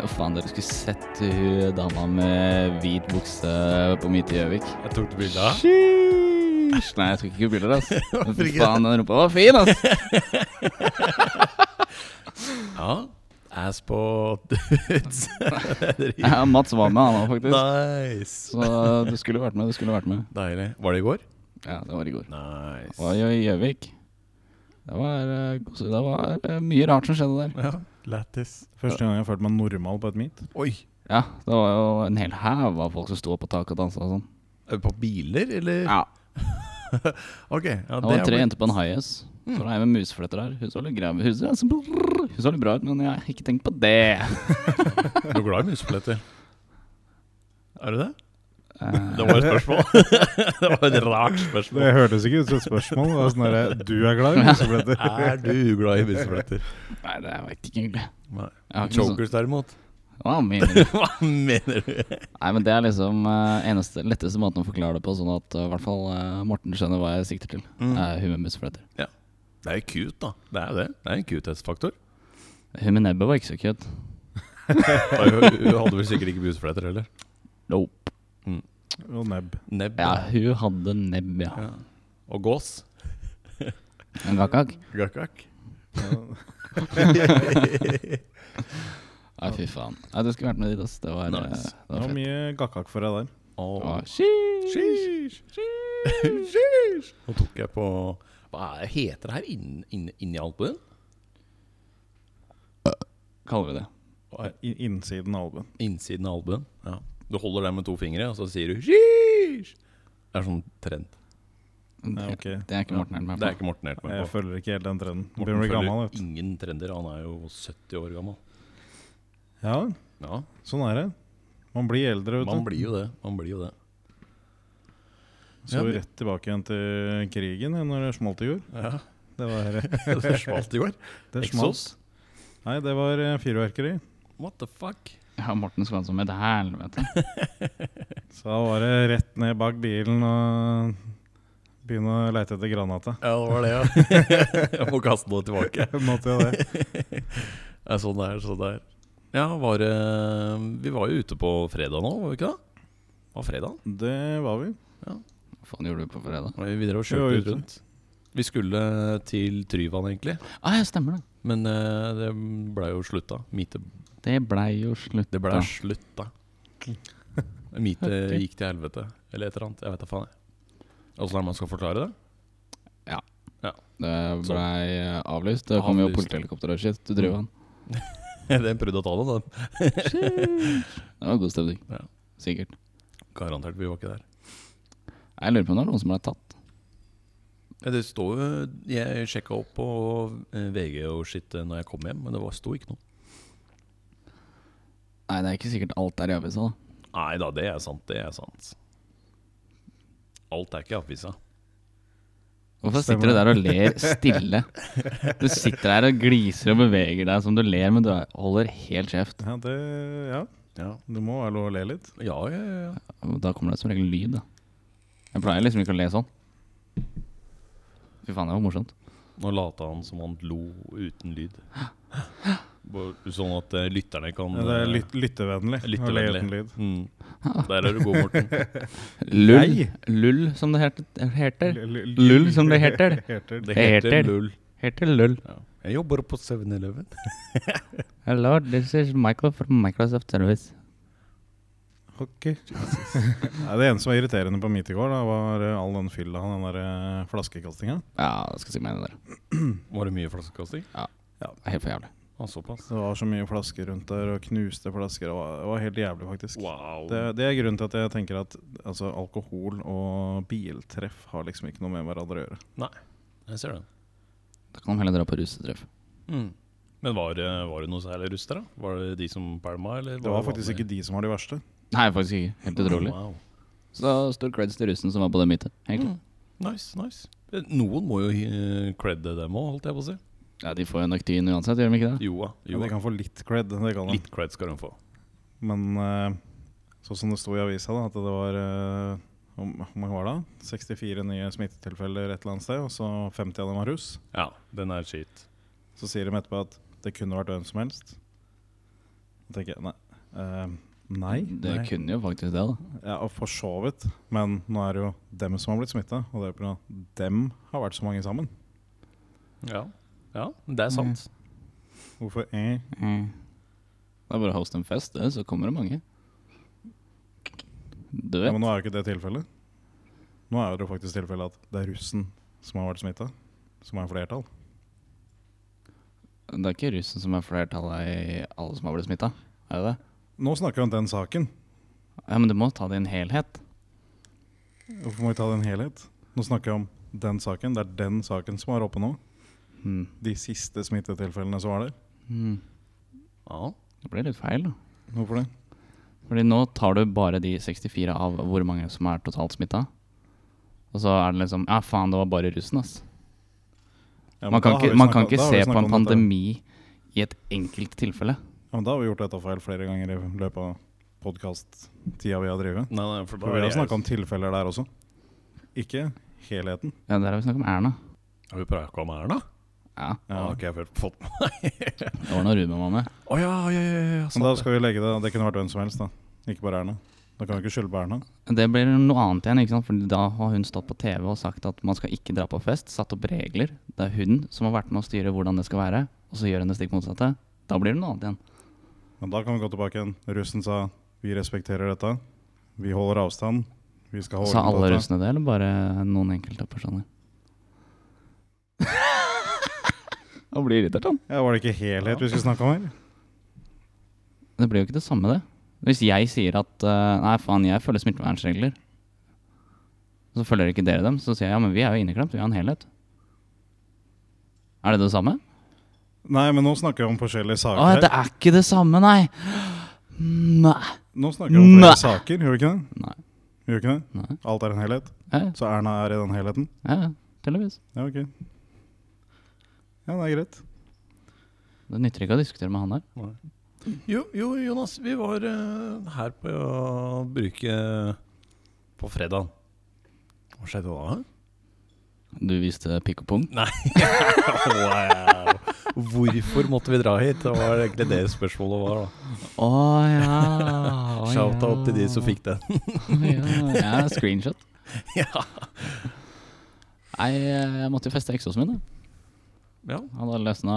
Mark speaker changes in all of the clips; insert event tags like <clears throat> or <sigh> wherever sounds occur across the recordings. Speaker 1: <laughs> faen, dere skulle sett hun dama med hvit bukse på Midt i Gjøvik.
Speaker 2: Jeg tok du bilde av.
Speaker 1: Sheesh. Nei, jeg tok ikke bilder,
Speaker 3: <laughs>
Speaker 1: altså. Men fy
Speaker 2: ikke det?
Speaker 1: faen, den rumpa var fin, altså.
Speaker 2: Ja. Ass på <laughs> dudes.
Speaker 1: Ja, Mats var med, han òg, faktisk.
Speaker 2: nice.
Speaker 1: Så du skulle vært med, du skulle vært med.
Speaker 2: Deilig. Var det i går?
Speaker 1: Ja, det var i går. Det
Speaker 2: Nice.
Speaker 1: var i Gjøvik. Det var, eh, gos- det var eh, mye rart som skjedde der.
Speaker 2: Ja, Lættis.
Speaker 3: <laughs> Første gang jeg følte meg normal på et meet.
Speaker 2: Oi.
Speaker 1: Ja, det var jo en hel haug av folk som sto på taket og dansa og sånn.
Speaker 2: Er vi På biler, eller?
Speaker 1: Ja,
Speaker 2: Ok. Ja,
Speaker 1: Det var tre
Speaker 2: er blitt-
Speaker 1: jenter på en highas. For ei med musefletter her. Hun så litt grei hun så, hun så litt bra ut, men jeg har ikke tenkt på det.
Speaker 2: Er du glad i musefletter? Er du det?
Speaker 1: Eh,
Speaker 2: Det var et <laughs> spørsmål. det var et rart spørsmål.
Speaker 3: Det hørtes ikke ut som et spørsmål. Det var sånn der, du er glad i musefletter.
Speaker 2: Er du glad i musefletter?
Speaker 1: nei, det vet jeg ikke egentlig.
Speaker 2: Nei.
Speaker 1: Jeg har ikke noe sånt.
Speaker 2: Chokers, derimot.
Speaker 1: Hva mener du?
Speaker 2: <laughs> Hva mener du?
Speaker 1: Nei, men Det er liksom eh, eneste letteste måten å forklare det på, sånn at eh, i hvert fall eh, Morten skjønner hva jeg sikter til.
Speaker 2: Mm.
Speaker 1: Eh, hun med musefletter.
Speaker 2: Det er jo cute, da. Det er jo det. Det er en cuthetsfaktor.
Speaker 1: Hun med nebbet var ikke så cute.
Speaker 2: Da Hun hun hadde vel sikkert ikke musefletter heller.
Speaker 1: Nope.
Speaker 3: Og nebb.
Speaker 2: Nebb
Speaker 1: Ja, hun hadde nebb, ja.
Speaker 2: Ja. og gås.
Speaker 1: En gakkak?
Speaker 2: Gakak.
Speaker 1: Nei, fy faen. Nei, Du skulle vært med dit, ass. Det var, eh, det
Speaker 2: Nice.
Speaker 3: Det
Speaker 1: var
Speaker 3: var
Speaker 1: fett.
Speaker 3: mye gakkak for deg der.
Speaker 1: Å, sheesh.
Speaker 2: Sheesh. Sheesh. Nå tok jeg på Hva er, heter det her inni inn, inn albuen?
Speaker 1: Kaller vi det.
Speaker 3: I, innsiden av albuen.
Speaker 2: Innsiden av albuen? Ja. Du holder den med to fingre, og så sier du sheesh. Det er sånn trend.
Speaker 3: Ja, ok.
Speaker 1: Det er ikke Morten helt med
Speaker 2: Det
Speaker 1: på.
Speaker 2: er ikke Morten helt med
Speaker 3: Jeg
Speaker 2: på.
Speaker 3: følger ikke helt den trenden.
Speaker 2: Morten
Speaker 3: Begynner å bli
Speaker 2: følger
Speaker 3: gammel, vet du.
Speaker 2: ingen trender. Han er jo 70 år gammel.
Speaker 3: Ja,
Speaker 2: Ja,
Speaker 3: sånn er det. Man blir eldre,
Speaker 2: Man
Speaker 3: vet du.
Speaker 2: blir jo det. Man blir jo det.
Speaker 3: Så rett tilbake igjen til krigen ja, når det smalt i går.
Speaker 2: <laughs> Ja.
Speaker 3: Det var,
Speaker 2: Det smalt i går.
Speaker 3: det smalt.
Speaker 2: Exos.
Speaker 3: Nei, det var eh, fyrverkeri.
Speaker 2: What the fuck?
Speaker 1: Ja, Morten sånn skulle være som et helvete.
Speaker 3: Så da var det rett ned bak bilen og begynne å leite
Speaker 2: <laughs>
Speaker 3: etter granata.
Speaker 2: Ja, det var det, ja. jeg må kaste det tilbake.
Speaker 3: Måtte jo det.
Speaker 2: <laughs> Det er sånn det er, sånn det er. Ja, var det Vi var jo ute på fredag nå, var vi ikke det? Var fredag?
Speaker 3: Det var vi.
Speaker 1: <laughs> Hva faen gjorde du på fredag?
Speaker 2: Og Vi drev og
Speaker 3: Vi var
Speaker 2: kjørte litt
Speaker 3: ute.
Speaker 2: rundt. Vi skulle til Tryvann, egentlig.
Speaker 1: Ah, ja, stemmer det.
Speaker 2: Men eh, det blei jo slutta. Meetet
Speaker 1: Det blei jo slutt.
Speaker 2: Det blei
Speaker 1: da.
Speaker 2: slutta. <laughs> Meetet gikk til helvete, eller et eller annet. Jeg vet da faen. jeg. Åssen er det man skal forklare det?
Speaker 1: Det
Speaker 2: Så-
Speaker 1: blei eh, avlyst. Mm. Det kom jo
Speaker 2: Avlyst.
Speaker 1: politihelikopter og shit. Du driver han.
Speaker 2: Den prøvde å ta <laughs> det, da.
Speaker 1: Det var god stemning.
Speaker 2: Ja.
Speaker 1: Sikkert.
Speaker 2: Garantert, vi var ikke der.
Speaker 1: Jeg lurer på om det er noen som blei tatt.
Speaker 2: Ja, Det står jo Jeg sjekka opp på eh, VG og shit eh, når jeg kom hjem, men det var- sto ikke noe.
Speaker 1: Nei, det er ikke sikkert alt er i avisa, da.
Speaker 2: Nei da, det er sant. Det er sant. Alt er ikke i avisa.
Speaker 1: Hvorfor
Speaker 3: Stemmer
Speaker 1: sitter du der og ler stille? <laughs> Du sitter der og gliser og beveger deg som du ler, men du er- holder helt kjeft.
Speaker 3: Ja, det, ja.
Speaker 2: Ja.
Speaker 3: det må være lov å le litt.
Speaker 2: Ja, ja, ja.
Speaker 1: Da kommer det som regel lyd, da. Jeg pleier liksom ikke å le sånn. Fy faen, det var morsomt.
Speaker 2: Nå lata han som han lo uten lyd. Bare Sånn at eh, lytterne kan
Speaker 3: Ja, Det er
Speaker 2: eh,
Speaker 3: lyt, lyttevennlig. å le uten
Speaker 2: Lyttevennlig.
Speaker 3: lyd.
Speaker 2: <laughs> Mm. Der er du god, Morten.
Speaker 1: Lull,
Speaker 3: Nei.
Speaker 1: lull som det heter. heter.
Speaker 3: L- l-
Speaker 1: Eh, Lull, som det heter.
Speaker 3: <laughs> Heter.
Speaker 2: Det
Speaker 1: heter
Speaker 2: heter Lull.
Speaker 1: Heter lull.
Speaker 2: Ja. Jeg jobber på 7-Eleven.
Speaker 1: Hello, this is Michael from Microsoft Service.
Speaker 3: Ok. Nei, det eneste som var irriterende på mitt i går, da, var eh, all den fylla den der eh, flaskekastinga.
Speaker 1: Ja, jeg skal si meg enig der.
Speaker 2: Var det mye flaskekasting?
Speaker 1: Det er Helt for jævlig.
Speaker 2: Ja, såpass.
Speaker 3: Det var så mye flasker rundt der, og knuste flasker. Det var, det var helt jævlig, faktisk.
Speaker 2: Wow.
Speaker 3: Det, det er grunnen til at jeg tenker at altså, alkohol og biltreff har liksom ikke noe med hverandre å gjøre.
Speaker 2: Jeg ser den.
Speaker 1: Da kan de heller dra på russetreff.
Speaker 2: Mm. Men var det, var det noe særlig russ der, da? Var det de som pælma, eller?
Speaker 3: Det var faktisk ikke de som var de verste.
Speaker 1: Nei, faktisk ikke. Helt utrolig.
Speaker 2: Wow.
Speaker 1: Så stor creds til russen som var på det meetet. Egentlig.
Speaker 2: Mm. Nice, nice. Eh, Noen må jo eh, credde dem òg, holdt jeg på å si.
Speaker 1: Ja, de får jo nok tyn uansett, gjør de ikke det?
Speaker 2: Jo da.
Speaker 3: Men
Speaker 2: Jo,
Speaker 3: de
Speaker 2: da.
Speaker 3: kan få litt cred. Det kan de.
Speaker 2: Litt cred skal de få.
Speaker 3: Men eh, sånn som det sto i avisa, da, at det var eh, om, hvor mange var det? da? 64 nye smittetilfeller et eller annet sted, og så 50 av dem var russ.
Speaker 2: Ja, den er shit.
Speaker 3: Så sier de etterpå at det kunne vært hvem som helst. Da tenker jeg nei, Eh, nei.
Speaker 1: Det
Speaker 3: nei.
Speaker 1: kunne jo faktisk det, da.
Speaker 3: Ja, og for så vidt. Men nå er det jo dem som har blitt smitta, og det er pga. dem har vært så mange sammen.
Speaker 2: Ja. ja, det
Speaker 3: Mm.
Speaker 2: er sant.
Speaker 3: Hvorfor eh?
Speaker 1: Det er bare å hoste en fest, det, så kommer det mange. Du
Speaker 3: ja,
Speaker 1: vet.
Speaker 3: Men nå er jo ikke det tilfellet. Nå er det jo faktisk tilfellet at det er russen som har vært smitta, som er flertall.
Speaker 1: Det er ikke russen som er flertallet i alle som har blitt smitta, er det det?
Speaker 3: Nå snakker vi om den saken.
Speaker 1: Ja, men du må ta det i en helhet.
Speaker 3: Hvorfor må vi ta den helhet? Nå snakker vi om den saken. Det er den saken som er oppe nå.
Speaker 1: Hmm.
Speaker 3: De siste smittetilfellene som var der.
Speaker 1: Hmm.
Speaker 2: Ja.
Speaker 1: Det blir litt feil, da.
Speaker 3: Hvorfor det?
Speaker 1: Fordi nå tar du bare de 64 av hvor mange som er totalt smitta. Og så er det liksom Ja, faen, det var bare russen, ass.
Speaker 3: Ja, men
Speaker 1: man
Speaker 3: da
Speaker 1: kan
Speaker 3: har vi
Speaker 1: ikke, man
Speaker 3: snakket-
Speaker 1: kan
Speaker 3: da
Speaker 1: ikke
Speaker 3: har
Speaker 1: se
Speaker 3: vi
Speaker 1: på
Speaker 3: snakket
Speaker 1: en
Speaker 3: om dette.
Speaker 1: pandemi i et enkelt tilfelle.
Speaker 3: Ja, men Da har vi gjort dette feil flere ganger i løpet av podkast-tida vi har drevet.
Speaker 2: Nei, nei, for da
Speaker 3: For vi
Speaker 2: er
Speaker 3: har
Speaker 2: jeg-
Speaker 3: snakka om tilfeller der også. Ikke helheten.
Speaker 1: Ja, Der har vi snakket om Erna.
Speaker 2: Har vi prata om
Speaker 3: <laughs>
Speaker 2: Erna?
Speaker 1: Ja,
Speaker 2: Ja.
Speaker 3: Ja.
Speaker 2: Har ikke jeg følt fått med
Speaker 1: Det var noe Ruben var med.
Speaker 2: Å ja, ja, ja, ja,
Speaker 3: Men da
Speaker 2: sant det.
Speaker 3: skal vi legge det Det kunne vært hvem som helst, da. Ikke bare Erna. Da kan vi ikke skylde på Erna.
Speaker 1: Det blir noe annet igjen, ikke sant? Fordi da har hun stått på TV og sagt at man skal ikke dra på fest. Satt opp regler. Det er hun som har vært med å styre hvordan det skal være. Og så gjør hun det stikk motsatte. Da blir det noe annet igjen.
Speaker 3: Men da kan vi gå tilbake igjen. Russen sa vi respekterer dette. Vi holder avstand. Vi skal holde
Speaker 1: Sa
Speaker 3: orden på
Speaker 1: alle
Speaker 3: dette.»
Speaker 1: russene det, eller bare noen enkelte
Speaker 2: <laughs>
Speaker 1: personer? Han blir irritert, han.
Speaker 3: Ja, Var det ikke helhet vi skulle snakke om her?
Speaker 1: Det blir jo ikke det samme, det. Hvis jeg sier at eh, nei, faen, jeg følger smittevernregler, så følger ikke dere dem, så sier jeg ja, men vi er jo inneklemt, vi har en helhet. Er det det samme?
Speaker 3: Nei, men nå snakker vi om forskjellige
Speaker 1: Å,
Speaker 3: saker.
Speaker 1: det
Speaker 3: her.
Speaker 1: er ikke det samme, nei! <gasps> Nei.
Speaker 3: Nå snakker vi om
Speaker 1: Nei.
Speaker 3: flere saker, gjør vi ikke det?
Speaker 1: Nei.
Speaker 3: Gjør vi ikke det?
Speaker 1: nei.
Speaker 3: Alt er en helhet.
Speaker 1: Ja,
Speaker 3: Så Erna er i den helheten?
Speaker 1: ja, ja, tydeligvis.
Speaker 3: Ja, ok. Ja, det er greit.
Speaker 1: Det nytter ikke å diskutere med han der.
Speaker 2: Jo, jo, Jonas, vi var eh, her på å bruke på fredag. Hva <laughs> skjedde da?
Speaker 1: Du viste pikk og pung.
Speaker 2: wow. Hvorfor måtte vi dra hit? Det var egentlig det spørsmålet var. da
Speaker 1: Å ja. å,
Speaker 2: <laughs>
Speaker 1: ja.
Speaker 2: Shout-out til de som fikk den.
Speaker 1: Å, ja. ja, screenshot.
Speaker 2: ja.
Speaker 1: Nei, jeg måtte jo feste eksosen min. da.
Speaker 2: ja.
Speaker 1: Han hadde løsna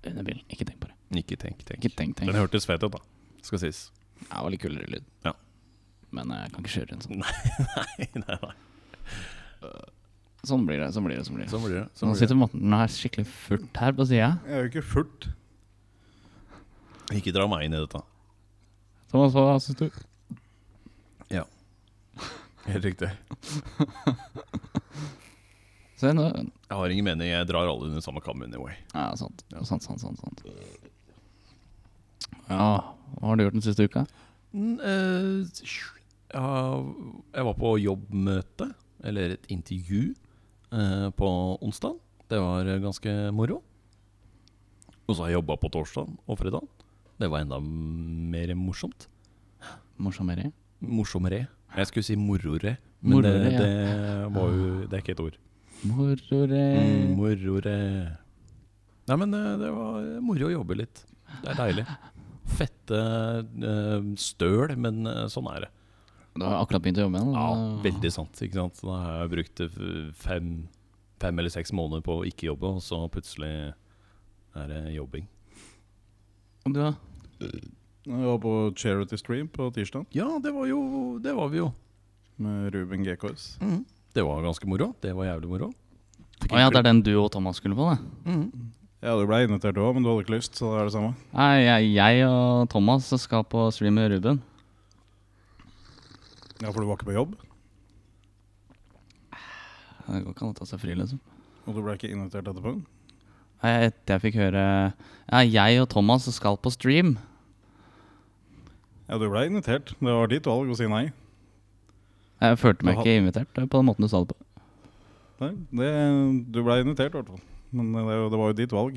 Speaker 1: under bilen. Ikke tenk på det.
Speaker 2: Ikke tenk, tenk.
Speaker 1: Ikke tenk, tenk.
Speaker 2: Den hørtes fet ut, da. Skal sies.
Speaker 1: Ja, det var litt kulere lyd.
Speaker 2: Ja.
Speaker 1: Men jeg kan ikke kjøre en sånn.
Speaker 2: <laughs> nei, nei, nei.
Speaker 1: Sånn blir det. sånn blir det, sånn blir det.
Speaker 2: Sånn blir det. Sånn
Speaker 1: Nå
Speaker 2: blir det.
Speaker 1: sitter Morten og er skikkelig furt her på sida.
Speaker 3: Jeg er jo ikke furt.
Speaker 2: Ikke dra meg inn i dette.
Speaker 1: Thomas, hva syns du?
Speaker 2: Helt riktig.
Speaker 1: Se nå.
Speaker 2: Jeg har ingen mening. Jeg drar alle under samme kam anyway.
Speaker 1: Ja, sant. Sant, sant, sant. sant. Ja, hva har du gjort den siste uka?
Speaker 2: Mm, eh, ja, jeg var på jobbmøte, eller et intervju, eh, på onsdag. Det var ganske moro. Og så har jeg jobba på torsdag og fredag. Det var enda mer morsomt.
Speaker 1: Morsommere?
Speaker 2: Morsommere. Jeg skulle si morore, men
Speaker 1: Morore,
Speaker 2: det,
Speaker 1: ja.
Speaker 2: det var jo Det er ikke et ord.
Speaker 1: Morore.
Speaker 2: Mm, morore. Nei, men eh, det var moro å jobbe litt. Det er deilig. Fette eh, støl, men eh, sånn er det.
Speaker 1: Du har akkurat begynt å jobbe igjen?
Speaker 2: Ja,
Speaker 1: da.
Speaker 2: veldig sant. ikke sant? Da har jeg brukt eh, fem, fem eller seks måneder på å ikke jobbe, og så plutselig er det jobbing.
Speaker 1: Og Du, da?
Speaker 3: Jeg var på charity stream på tirsdag
Speaker 2: Ja, det var jo Det var vi jo.
Speaker 3: med Ruben GKS.
Speaker 1: Mm.
Speaker 2: Det var ganske moro. Det var jævlig moro.
Speaker 1: Å ja, det er den du og Thomas skulle på, det?
Speaker 3: Ja, du ble invitert du òg, men du hadde ikke lyst, så da er det samme.
Speaker 1: Nei, jeg, jeg og Thomas skal på stream med Ruben.
Speaker 3: Ja, for du var ikke på jobb,
Speaker 1: Det går ikke an å ta seg fri, liksom.
Speaker 3: og du ble ikke invitert etterpå.
Speaker 1: Nei, Etter jeg fikk høre Ja, jeg og Thomas skal på stream.
Speaker 3: Ja, du ble invitert. Det var ditt valg å si nei.
Speaker 1: Jeg følte meg
Speaker 3: Jaha.
Speaker 1: ikke invitert eh, på den måten du sa det på.
Speaker 3: Nei, det, du ble invitert, i hvert fall. Men det, er jo- det var jo ditt valg.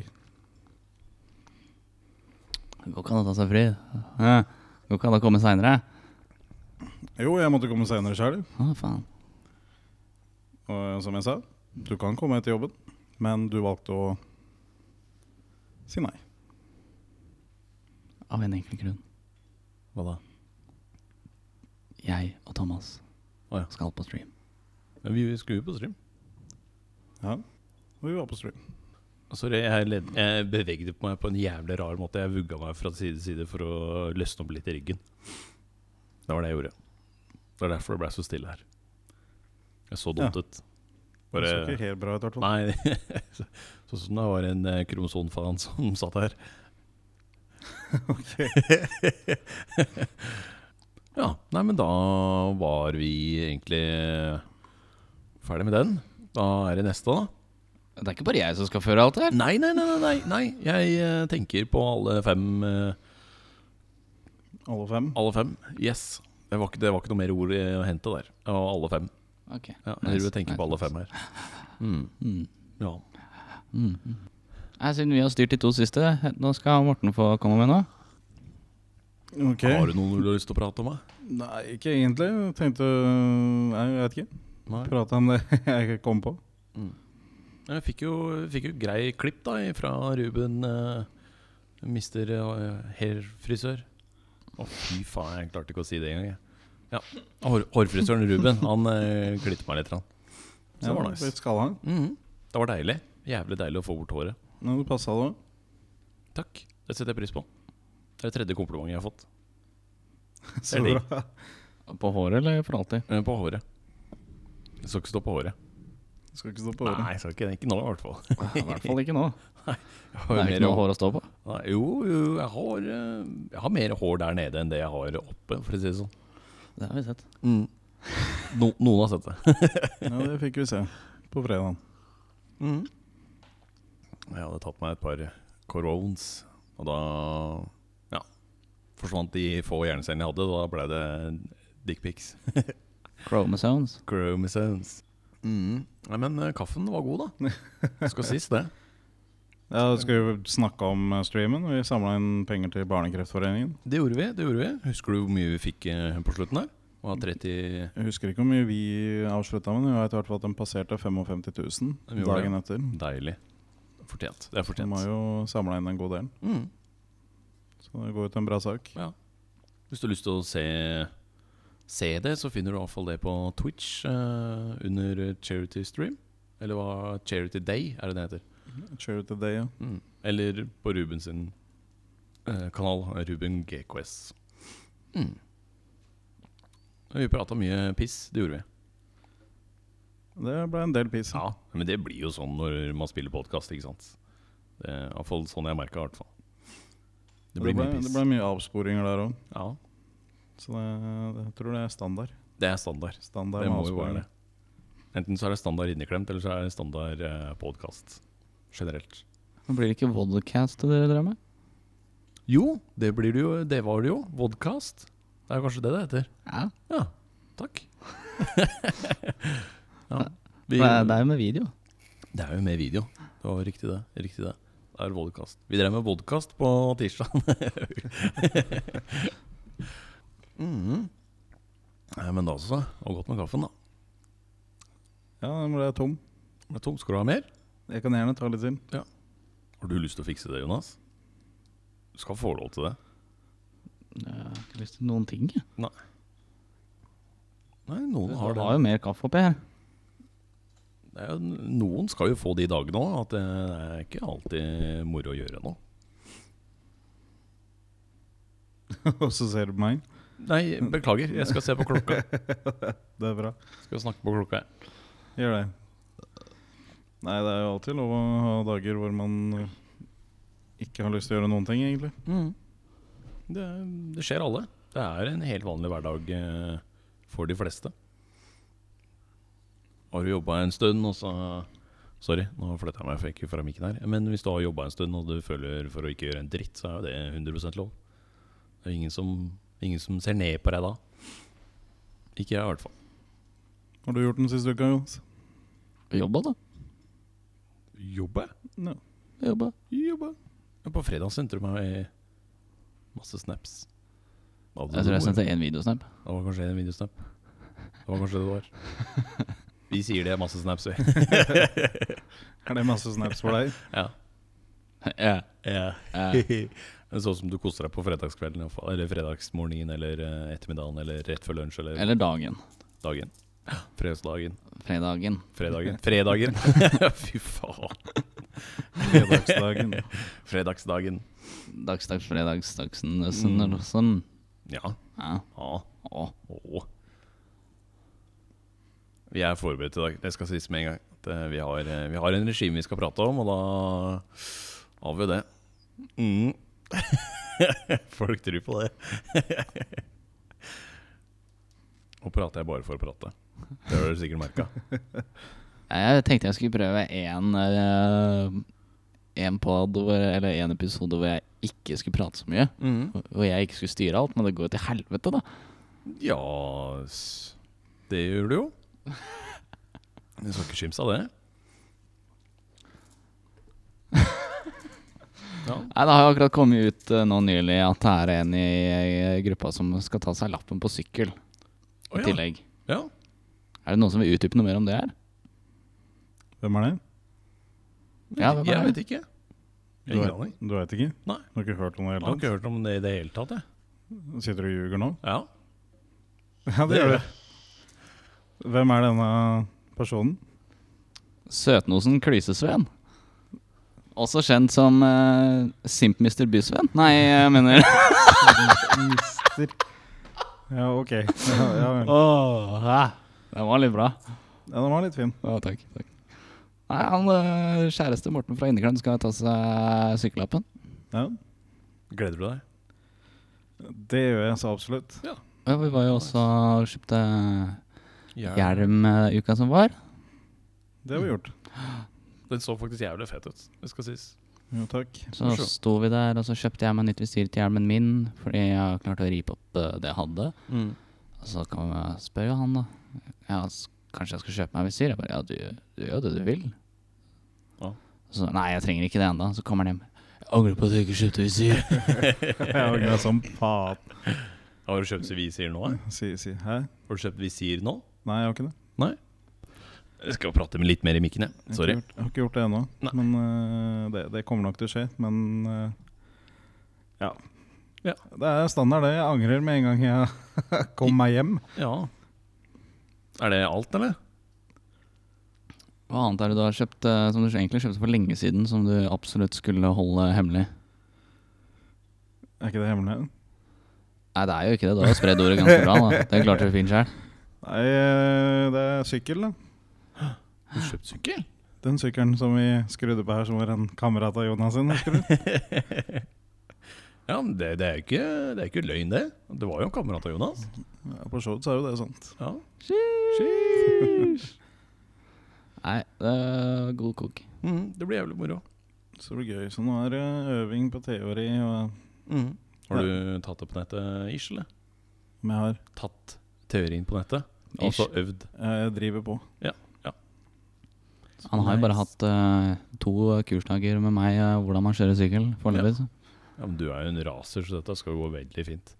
Speaker 1: Det går ikke an å ta seg fri. Ja. Det går ikke an å komme seinere.
Speaker 3: Jo, jeg måtte komme senere sjøl,
Speaker 1: Å, faen.
Speaker 3: og eh, som jeg sa, du kan komme etter jobben, men du valgte å si nei.
Speaker 1: Av en enkel grunn.
Speaker 2: Hva da?
Speaker 1: Jeg og Thomas
Speaker 2: Å ja.
Speaker 1: skal på stream.
Speaker 2: Men vi skulle jo på stream.
Speaker 3: Ja. Og vi var på stream.
Speaker 2: Sorry, jeg, led, jeg bevegde på meg på en jævlig rar måte. Jeg vugga meg fra side til side for å løsne opp litt i ryggen. Det var det jeg gjorde. Det er derfor det ble så stille her. Jeg så dumt ut.
Speaker 3: Det
Speaker 2: Bare,
Speaker 3: så ikke helt sånn. bra ut, i hvert fall.
Speaker 2: nei, <laughs> så- sånn som det var en eh, kromosonfan som <laughs> satt
Speaker 3: <laughs>
Speaker 2: her. ja, nei, men da var vi egentlig ferdig med den. Da er det neste, da.
Speaker 1: Det er ikke bare jeg som skal føre alt det her.
Speaker 2: Nei, nei, nei, nei, nei, nei. Jeg eh, tenker på alle fem eh,
Speaker 3: Alle fem.
Speaker 2: Alle fem, yes det var, ikke, det var ikke noe mer ord eh, å hente der Det var alle fem
Speaker 1: Ok.
Speaker 2: ja,
Speaker 1: Nice,
Speaker 2: Jeg tror jeg tenker på alle
Speaker 1: nice,
Speaker 2: fem her mm.
Speaker 1: Mm.
Speaker 2: ja.
Speaker 1: Mm. Nei, Siden vi har styrt de to siste, nå skal Morten få komme med noe.
Speaker 3: Ok.
Speaker 2: Har du noen du har lyst til å prate om? da?
Speaker 3: Nei, ikke egentlig. Jeg tenkte Nei, jeg vet ikke.
Speaker 2: Nei.
Speaker 3: Prate om det <laughs> jeg kom på.
Speaker 2: Jeg fikk jo, fikk jo grei klipp da Fra Ruben eh, Mister eh, herfrisør Å fy faen, jeg klarte ikke å si det engang jeg. ja. Hår, Hårfrisøren Ruben Han eh, klippet meg litt grann. Så det var nice
Speaker 3: Litt skalla.
Speaker 2: Mhm. Det var deilig Jævlig deilig å få bort håret
Speaker 3: Nå passa det.
Speaker 2: Takk, det setter jeg pris på Det er det tredje komplimentet jeg har fått
Speaker 3: Så
Speaker 2: Det er
Speaker 3: bra.
Speaker 1: På håret eller for alltid?
Speaker 2: Eh, På håret. Det skal ikke stå på håret.
Speaker 3: Det Skal ikke stå på håret.
Speaker 2: jeg skal ikke det. Ikke nå, i hvert fall.
Speaker 1: <laughs> I hvert fall ikke nå.
Speaker 2: Jeg
Speaker 1: Det
Speaker 2: <laughs> har
Speaker 1: er
Speaker 2: jo
Speaker 1: ikke
Speaker 2: mer
Speaker 1: noe
Speaker 2: hår.
Speaker 1: hår å stå på.
Speaker 2: Nei, jo, jo, jeg har, eh, jeg har mer hår der nede enn det jeg har oppe, for å si det sånn.
Speaker 1: Det har vi sett.
Speaker 2: Mm. <laughs> No, noen har sett det.
Speaker 3: Ja, det fikk vi se på fredagen.
Speaker 2: Mm-hmm. Jeg hadde tatt meg et par corones, og da ja, forsvant de få hjernecellene jeg hadde. Da ble det dickpics.
Speaker 1: Chromosomes.
Speaker 2: Chromosomes. Mm. Nei, men eh, kaffen var god, da. <laughs> Skal sies det.
Speaker 3: Ja, da skal vi snakke om eh, streamen. Vi samla inn penger til Barnekreftforeningen.
Speaker 2: Det gjorde vi. det gjorde vi Husker du hvor mye vi fikk eh, på slutten her? Det var 30
Speaker 3: Jeg husker ikke hvor mye vi avslutta, men jeg vet i hvert fall at den passerte 55
Speaker 2: Den
Speaker 3: 000
Speaker 2: gjorde
Speaker 3: dagen etter.
Speaker 2: Deilig. Fortjent. Det er
Speaker 3: De
Speaker 2: fortjent.
Speaker 3: har jo samla inn en god del,
Speaker 2: Mm.
Speaker 3: så det går jo til en bra sak.
Speaker 2: Hvis du har lyst til å se, se det, så finner du iallfall det på Twitch eh, under Charity Stream. Eller hva Charity Day er det det heter.
Speaker 3: Charity Day, ja.
Speaker 2: Mm. Eller på Ruben sin eh, kanal, Ruben GQS. Mm. Vi prata mye piss, det gjorde vi.
Speaker 3: Det ble en del piss.
Speaker 2: Ja, men det blir jo sånn når man spiller podkast, ikke sant. Det er Iallfall sånn jeg merka, i hvert fall. Det blir
Speaker 3: ble,
Speaker 2: mye piss.
Speaker 3: det ble mye avsporinger der òg,
Speaker 2: Ja,
Speaker 3: så det, det, jeg tror det er standard.
Speaker 2: det er standard.
Speaker 3: standard
Speaker 2: Det
Speaker 3: med
Speaker 2: må jo være
Speaker 3: avsporinger.
Speaker 2: det. Enten så er det standard inneklemt, eller så er det standard eh, podkast. Generelt.
Speaker 1: Nå blir det ikke vodcast dere drar med?
Speaker 2: Jo, det blir det jo. Det var det jo. Vodkast. Det er kanskje det det heter.
Speaker 1: Ja.
Speaker 2: Ja. Takk. <laughs> ja. Vi,
Speaker 1: Det er det er jo med video.
Speaker 2: det er jo med video. Det var riktig det. Riktig det. Det er vodkast. Vi drev med vodkast på <laughs> tirsdag. mm. Nei, Men da så. Og godt med kaffen, da.
Speaker 3: Ja, den ble tom.
Speaker 2: Ble tom. Skal du ha mer?
Speaker 3: Jeg kan gjerne ta litt til. <laughs>
Speaker 2: Har du lyst til å fikse det, Jonas? Du skal få lov til det.
Speaker 1: Jeg har ikke lyst til noen ting. jeg.
Speaker 2: Nei, noen
Speaker 1: Du
Speaker 2: har
Speaker 1: har
Speaker 2: det.
Speaker 1: jo mer kaffe oppi her.
Speaker 2: det er jo, noen skal jo få de dagene òg, at det er ikke alltid moro å gjøre noe.
Speaker 3: Og så ser du på meg.
Speaker 2: Nei, beklager, jeg skal se på klokka.
Speaker 1: <laughs>
Speaker 3: Det er bra.
Speaker 2: Skal snakke på klokka. jeg.
Speaker 3: Gjør det. Nei, det er jo alltid lov å ha dager hvor man ikke har lyst til å gjøre noen ting, egentlig.
Speaker 2: Mm. Det, det skjer alle. Det er en helt vanlig hverdag eh, for de fleste. Har du jobba en stund, og så Sorry, nå flytta jeg meg for ikke fra mikken her. Men hvis du har jobba en stund og du føler for å ikke gjøre en dritt, så er jo det 100 lov. Det er ingen som, ingen som ser ned på deg da. Ikke jeg, i hvert fall.
Speaker 3: Har du gjort den siste uka, Jonas?
Speaker 1: Jobba, da.
Speaker 2: Jobbe?
Speaker 3: No.
Speaker 1: Jobba.
Speaker 2: Jobbe. På fredag sendte du meg masse snaps. Hva hadde
Speaker 1: Jeg
Speaker 2: du
Speaker 1: tror jeg
Speaker 2: på
Speaker 1: sendte én videosnap.
Speaker 2: Det var kanskje en videosnap. Det var kanskje det det var. Vi sier det er masse snaps, vi.
Speaker 3: Er det masse snaps for deg?
Speaker 2: <laughs> Ja.
Speaker 1: Ja.
Speaker 2: <laughs> <laughs> Ja.
Speaker 1: Ja.
Speaker 2: sånn som du koser deg på fredagskvelden, i hvert fall, eller fredagsmorgenen, eller eh, ettermiddagen, eller rett før lunsj, eller
Speaker 1: Eller dagen.
Speaker 2: dagen. Fredagsdagen.
Speaker 1: Fredagen.
Speaker 2: Fredagen. Fredagen! <laughs> Fy faen.
Speaker 3: Fredagsdagen.
Speaker 2: Fredagsdagen.
Speaker 1: Dagsdags, fredags, dagsen, dagsen,
Speaker 2: Mm.
Speaker 1: dagsen.
Speaker 2: Ja.
Speaker 1: Ja.
Speaker 2: ja.
Speaker 1: Å.
Speaker 2: Åh. Vi er forberedt i dag. Det skal sies med en gang. at, eh, vi, har, eh, vi har en regime vi skal prate om, og da har vi jo det. Mm. <laughs> Folk tror på det. Nå prater jeg bare for å prate. Det har du sikkert merka.
Speaker 1: Jeg tenkte jeg skulle prøve en eh, En pod hvor- Eller en episode hvor jeg ikke skulle prate så mye. Hvor jeg ikke skulle styre alt, men det går jo til helvete, da.
Speaker 2: Ja s- Det gjør du jo. Du skal ikke kimse av
Speaker 1: <laughs>
Speaker 2: det. Ja.
Speaker 1: Nei, Det har jo akkurat kommet ut eh, nå nylig at det er en i eh, gruppa som skal ta seg lappen på sykkel
Speaker 2: Å
Speaker 1: i
Speaker 2: ja.
Speaker 1: tillegg.
Speaker 2: ja.
Speaker 1: Er det noen som vil utdype noe mer om det her?
Speaker 3: Hvem er det?
Speaker 1: Ja, hvem er
Speaker 2: jeg
Speaker 1: det?
Speaker 2: vet ikke.
Speaker 3: Du
Speaker 2: Ingen
Speaker 3: vet,
Speaker 2: aning.
Speaker 3: du vet ikke?
Speaker 2: Nei.
Speaker 3: Du har ikke hørt om det i
Speaker 2: Jeg
Speaker 3: det
Speaker 2: har
Speaker 3: hele
Speaker 2: ikke hørt om det i det hele tatt, jeg.
Speaker 3: tatt? Sitter du og ljuger nå?
Speaker 2: Ja.
Speaker 3: <laughs> Ja, det gjør du. Hvem er denne personen?
Speaker 1: Søtnosen Klysesven. Også kjent som uh, Simp-Mr. Bysven. Nei, jeg mener
Speaker 3: Mister Ja, ok. Ja, ja, vel.
Speaker 1: Åh, hæ? Den var litt bra.
Speaker 3: ja, den var litt fin.
Speaker 1: Ja, takk, takk. Nei, han eh, kjæreste Morten fra Inneklem skal ta seg sykkellappen.
Speaker 3: Ja.
Speaker 2: Gleder du deg?
Speaker 3: Det gjør jeg så absolutt.
Speaker 1: Ja, vi var jo også og kjøpte
Speaker 2: Ja.
Speaker 1: hjelm eh, uka som var.
Speaker 3: Det har vi gjort.
Speaker 2: Den så faktisk jævlig fett ut, det skal sies.
Speaker 3: Jo, takk. <laughs>
Speaker 1: Så
Speaker 2: Forstå.
Speaker 1: sto vi der, og så kjøpte jeg meg nytt visir til hjelmen min, fordi jeg klarte å ripe opp eh, det jeg hadde. Og så kan jeg spørre han, da. Ja, s- kanskje jeg skal kjøpe meg visir? Jeg bare, ja, du, du gjør det du vil.
Speaker 2: Ja.
Speaker 1: Så, nei, jeg trenger ikke det ennå. Så kommer han hjem. Jeg angrer på at jeg ikke kjøpte visir.
Speaker 3: Jeg angrer som faen.
Speaker 2: Har du kjøpt visir nå?
Speaker 1: Mm.
Speaker 2: da?
Speaker 3: Si, si. Hæ?
Speaker 2: Har du kjøpt visir nå?
Speaker 3: Nei, jeg har ikke det.
Speaker 2: Nei? Jeg skal prate med litt mer i mikken,
Speaker 3: Jeg har
Speaker 2: jeg. Sorry.
Speaker 3: ikke gjort- Jeg har ikke gjort det ennå.
Speaker 2: Nei.
Speaker 3: Men øh, det, det kommer nok til å skje. Men øh, ja.
Speaker 2: Ja.
Speaker 3: Det er standard, det. Jeg angrer med en gang jeg <laughs> kom meg hjem.
Speaker 2: Ja. Er det alt, eller?
Speaker 1: <laughs> Hva annet er det du har kjøpt eh, som du egentlig kjøpte for lenge siden, som du absolutt skulle holde hemmelig?
Speaker 3: Er ikke det hemmelig?
Speaker 1: Nei, det er jo ikke det. Du har jo spredd ordet ganske bra. da Det klarte du fint sjøl.
Speaker 3: Nei, øh, det er sykkel, da.
Speaker 2: Du har kjøpt
Speaker 1: <laughs>
Speaker 2: sykkel?
Speaker 3: Den sykkelen som vi skrudde på her, som var en kamerat av Jonas sin, husker du?
Speaker 2: Ja, men det, det, er jo ikke, det er ikke løgn, det. Det var jo en kamerat av Jonas.
Speaker 3: Ja, på showet så er jo det sant.
Speaker 2: Ja.
Speaker 1: Nei, det er god kok.
Speaker 2: Mm, det blir jævlig moro.
Speaker 3: Så det blir gøy. Så nå er det eh, øving på teori og
Speaker 1: Mm.
Speaker 2: Har du tatt det på nettet, ish, eller?
Speaker 3: om jeg har.
Speaker 2: Tatt teorien på nettet?
Speaker 1: Ish.
Speaker 2: Altså øvd?
Speaker 3: eh, Jeg driver på.
Speaker 1: Han har jo bare hatt eh, to kursdager med meg eh, hvordan man kjører sykkel foreløpig. så.
Speaker 2: Ja, men Du er jo en raser, så dette skal gå veldig fint.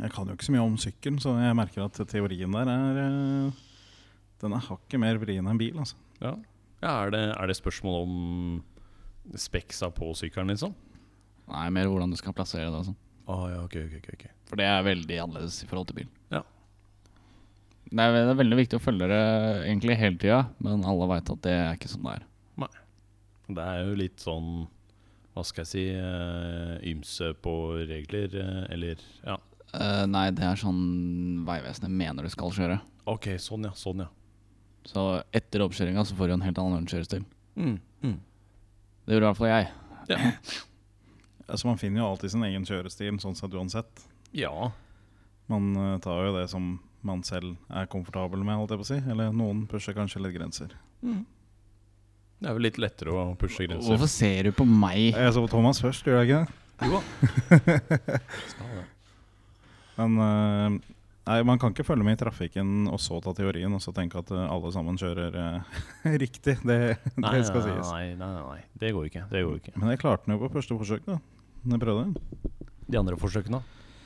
Speaker 3: Jeg kan jo ikke så mye om sykkel, så jeg merker at teorien der er eh, Den er hakket mer vrien enn bil, altså.
Speaker 2: Ja, ja er, det, er det spørsmål om speksa på sykkelen, liksom?
Speaker 1: Nei, mer hvordan du skal plassere det og sånn.
Speaker 2: Ah, ja, ok, ok, ok, ok.
Speaker 1: For det er veldig annerledes i forhold til bil.
Speaker 2: Ja.
Speaker 1: Det er, det er veldig viktig å følge det egentlig hele tida, men alle veit at det er ikke sånn det er.
Speaker 2: Det er jo litt sånn hva skal jeg si eh, ymse på regler, eh, eller ja.
Speaker 1: Eh, nei, det er sånn Vegvesenet mener du skal kjøre.
Speaker 2: OK, sånn ja, sånn ja.
Speaker 1: Så etter oppkjøringa så får du en helt annen kjørestil.
Speaker 2: Mm, mm.
Speaker 1: Det gjorde i hvert fall jeg.
Speaker 2: Ja.
Speaker 3: altså. Man finner jo alltid sin egen kjørestil, sånn sett uansett.
Speaker 2: ja.
Speaker 3: Man eh, tar jo det som man selv er komfortabel med, holdt jeg på å si. Eller noen pusher kanskje litt grenser.
Speaker 2: Det er vel litt lettere å pushe grenser.
Speaker 1: Hvorfor ser du på meg?
Speaker 3: Jeg så på Thomas først, gjør jeg ikke det?
Speaker 2: Jo da. Skal <laughs> det.
Speaker 3: Men eh, nei, man kan ikke følge med i trafikken og så ta teorien og så tenke at eh, alle sammen kjører eh, <laughs> riktig. Det,
Speaker 2: Nei,
Speaker 3: det skal
Speaker 2: nei,
Speaker 3: sies.
Speaker 2: Nei, nei, nei, nei. Det går jo ikke. Det går jo ikke.
Speaker 3: Men jeg klarte den jo på første forsøk, da. Når jeg prøvde.
Speaker 2: De andre forsøkene, da?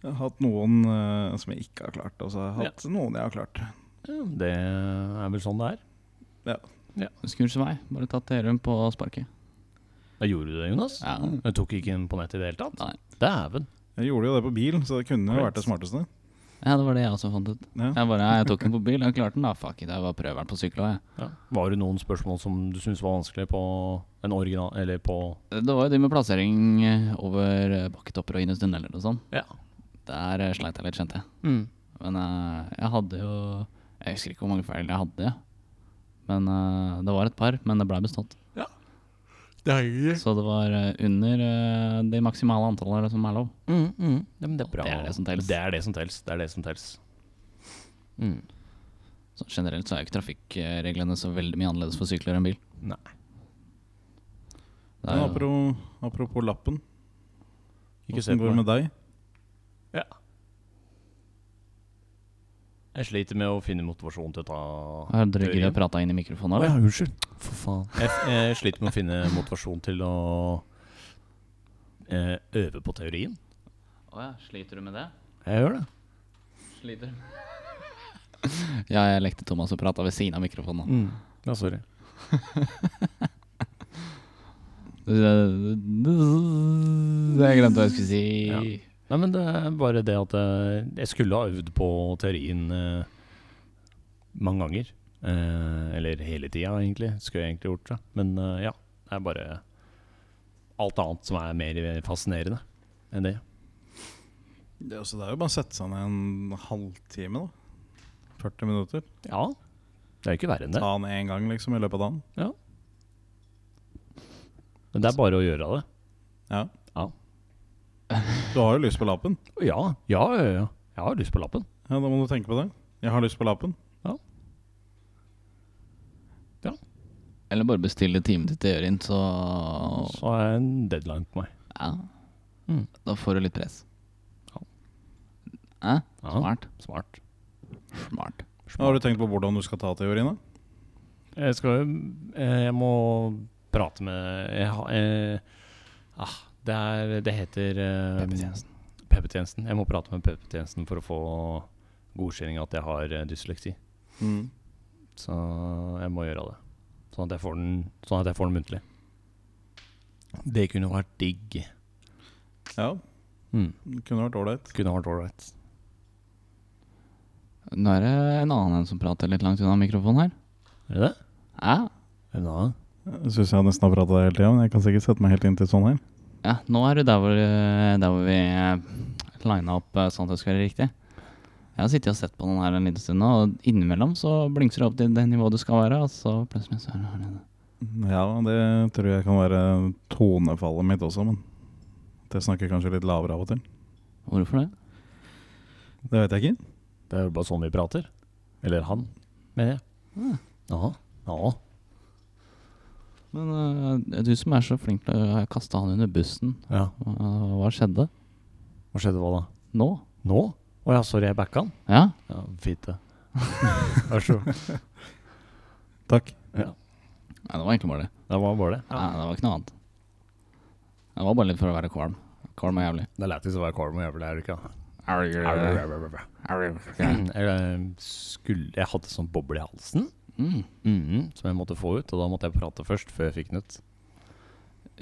Speaker 3: Jeg har hatt noen eh, som jeg ikke har klart, og så har jeg hatt noen jeg har klart.
Speaker 2: Ja, det er vel sånn det er.
Speaker 1: Skur som meg. Bare tatt Terum på sparket.
Speaker 2: Da gjorde du det, Jonas.
Speaker 1: Ja.
Speaker 2: Du tok ikke en på nett i det hele tatt?
Speaker 1: Nei.
Speaker 2: Dæven.
Speaker 3: Jeg gjorde jo det på bil, så det kunne jo
Speaker 2: Right.
Speaker 3: vært det smarteste.
Speaker 1: Ja, det var det jeg også fant ut.
Speaker 3: Ja.
Speaker 1: Jeg bare, jeg tok den på bil, jeg klarte den da. Fuck it, jeg var prøveren på sykkel også, jeg.
Speaker 2: Ja. Var det noen spørsmål som du syntes var vanskelig på en original Eller på
Speaker 1: Det var jo de med plassering eh, over eh, bakketopper og innes tunneler og sånn.
Speaker 2: Ja. Mm.
Speaker 1: Der eh, sleit jeg litt, kjente jeg. Men eh, jeg hadde jo Jeg husker ikke hvor mange feil jeg hadde. Men eh, Det var et par, men det ble bestått.
Speaker 2: Deilig.
Speaker 1: Så det var eh, under eh, det maksimale antallet som er lov.
Speaker 2: Ja, men det er bra.
Speaker 1: mm. Det er det som telles.
Speaker 2: Det er det som telles. Det er det som telles. Mm.
Speaker 1: Så generelt så er jo ikke trafikkreglene så veldig mye annerledes for sykler enn bil.
Speaker 2: Nei.
Speaker 1: Det
Speaker 3: Men
Speaker 1: er jo,
Speaker 3: apropos, apropos lappen,
Speaker 2: Ikke se
Speaker 3: åssen
Speaker 2: på
Speaker 3: går det
Speaker 2: meg.
Speaker 3: med deg?
Speaker 2: Jeg sliter med å finne motivasjon til å ta
Speaker 1: har dere ikke prata inn i mikrofonen?
Speaker 2: Å
Speaker 1: eller?
Speaker 2: ja, unnskyld. For faen. Jeg, jeg sliter med å finne motivasjon til å eh, øve på teorien.
Speaker 1: Å ja, sliter du med det?
Speaker 2: Jeg gjør det.
Speaker 1: Sliter. <laughs> ja, jeg lekte Thomas og prata ved siden av mikrofonen.
Speaker 2: Ja, sorry.
Speaker 1: Jeg glemte hva jeg skulle si.
Speaker 2: Ja. Nei, men det er bare det at eh, jeg skulle ha øvd på teorien eh, mange ganger. Eh, eller hele tida, egentlig. Skulle jeg egentlig gjort det. Men eh, ja, det er bare alt annet som er mer fascinerende enn det.
Speaker 3: Det er, også, det er jo bare å sette seg ned en halvtime, da. 40 minutter.
Speaker 2: Ja, det er jo ikke verre enn det.
Speaker 3: Ta den én gang liksom i løpet av dagen.
Speaker 2: Men det er bare å gjøre det.
Speaker 3: Ja.
Speaker 2: Ja.
Speaker 3: Du har jo lyst på lappen.
Speaker 2: Ja, ja, ja. ja. Jeg har lyst på lappen.
Speaker 3: Ja, Da må du tenke på det. Jeg har lyst på lappen.
Speaker 1: Eller bare bestille time til teorien, så
Speaker 2: Så er det en deadline på meg.
Speaker 1: ja.
Speaker 2: Mm.
Speaker 1: Da får du litt press.
Speaker 2: Ja.
Speaker 1: Hæ?
Speaker 2: Ja,
Speaker 1: Smart.
Speaker 2: Smart.
Speaker 1: Smart.
Speaker 3: Har du tenkt på hvordan du skal ta teorien? da?
Speaker 2: Jeg skal jo eh, Jeg må prate med jeg, har- eh, ah, det, er, det heter eh,
Speaker 1: PP-tjenesten.
Speaker 2: PP-tjenesten. Jeg må prate med PP-tjenesten for å få godkjenning at jeg har eh, dysleksi.
Speaker 3: Mm.
Speaker 2: Så jeg må gjøre det. Sånn at jeg får den, sånn at jeg får den muntlig. Det kunne vært digg.
Speaker 3: Ja,
Speaker 2: Mm.
Speaker 3: det kunne vært ålreit.
Speaker 2: Kunne vært ålreit.
Speaker 1: Nå er det en annen en som prater litt langt unna mikrofonen her.
Speaker 2: Er det det?
Speaker 1: Ja,
Speaker 2: Hvem da?
Speaker 3: Jeg syns jeg nesten har prata hele tida, men jeg kan sikkert sette meg helt inntil sånn her.
Speaker 1: ja nå er du der hvor, eh, der hvor vi eh, lina opp eh, sånn at det skal være riktig. Jeg har sittet og sett på den her en liten stund, nå, og innimellom så blingser det opp til det nivået du skal være, og så plutselig så er det her nede.
Speaker 3: Ja, det tror jeg kan være tonefallet mitt også, men det snakker kanskje litt lavere av og til.
Speaker 1: Hvorfor det?
Speaker 3: Det vet jeg ikke.
Speaker 2: Det er jo bare sånn vi prater. Eller han, mener jeg. Ja. ja.
Speaker 1: Men eh, du som er så flink til å eh, kaste han under bussen,
Speaker 2: ja.
Speaker 1: hva- hva skjedde
Speaker 2: Hva skjedde hva da?
Speaker 1: nå?
Speaker 2: Nå? Å ja, sorry, jeg backa han.
Speaker 1: Ja?
Speaker 2: Ja, fint <laughs> det. Vær så god.
Speaker 3: Takk.
Speaker 1: Nei, det var egentlig bare det.
Speaker 2: Det var bare det.
Speaker 1: Nei, det var ikke noe annet. Det var bare litt for å være kvalm. Kvalm og jævlig.
Speaker 2: Det er lættis å være kvalm og jævlig, er det ikke? da? Jeg skulle Jeg hadde sånn boble i halsen
Speaker 1: Mm.
Speaker 2: mhm, som jeg måtte få ut, og da måtte jeg prate først før jeg fikk den ut.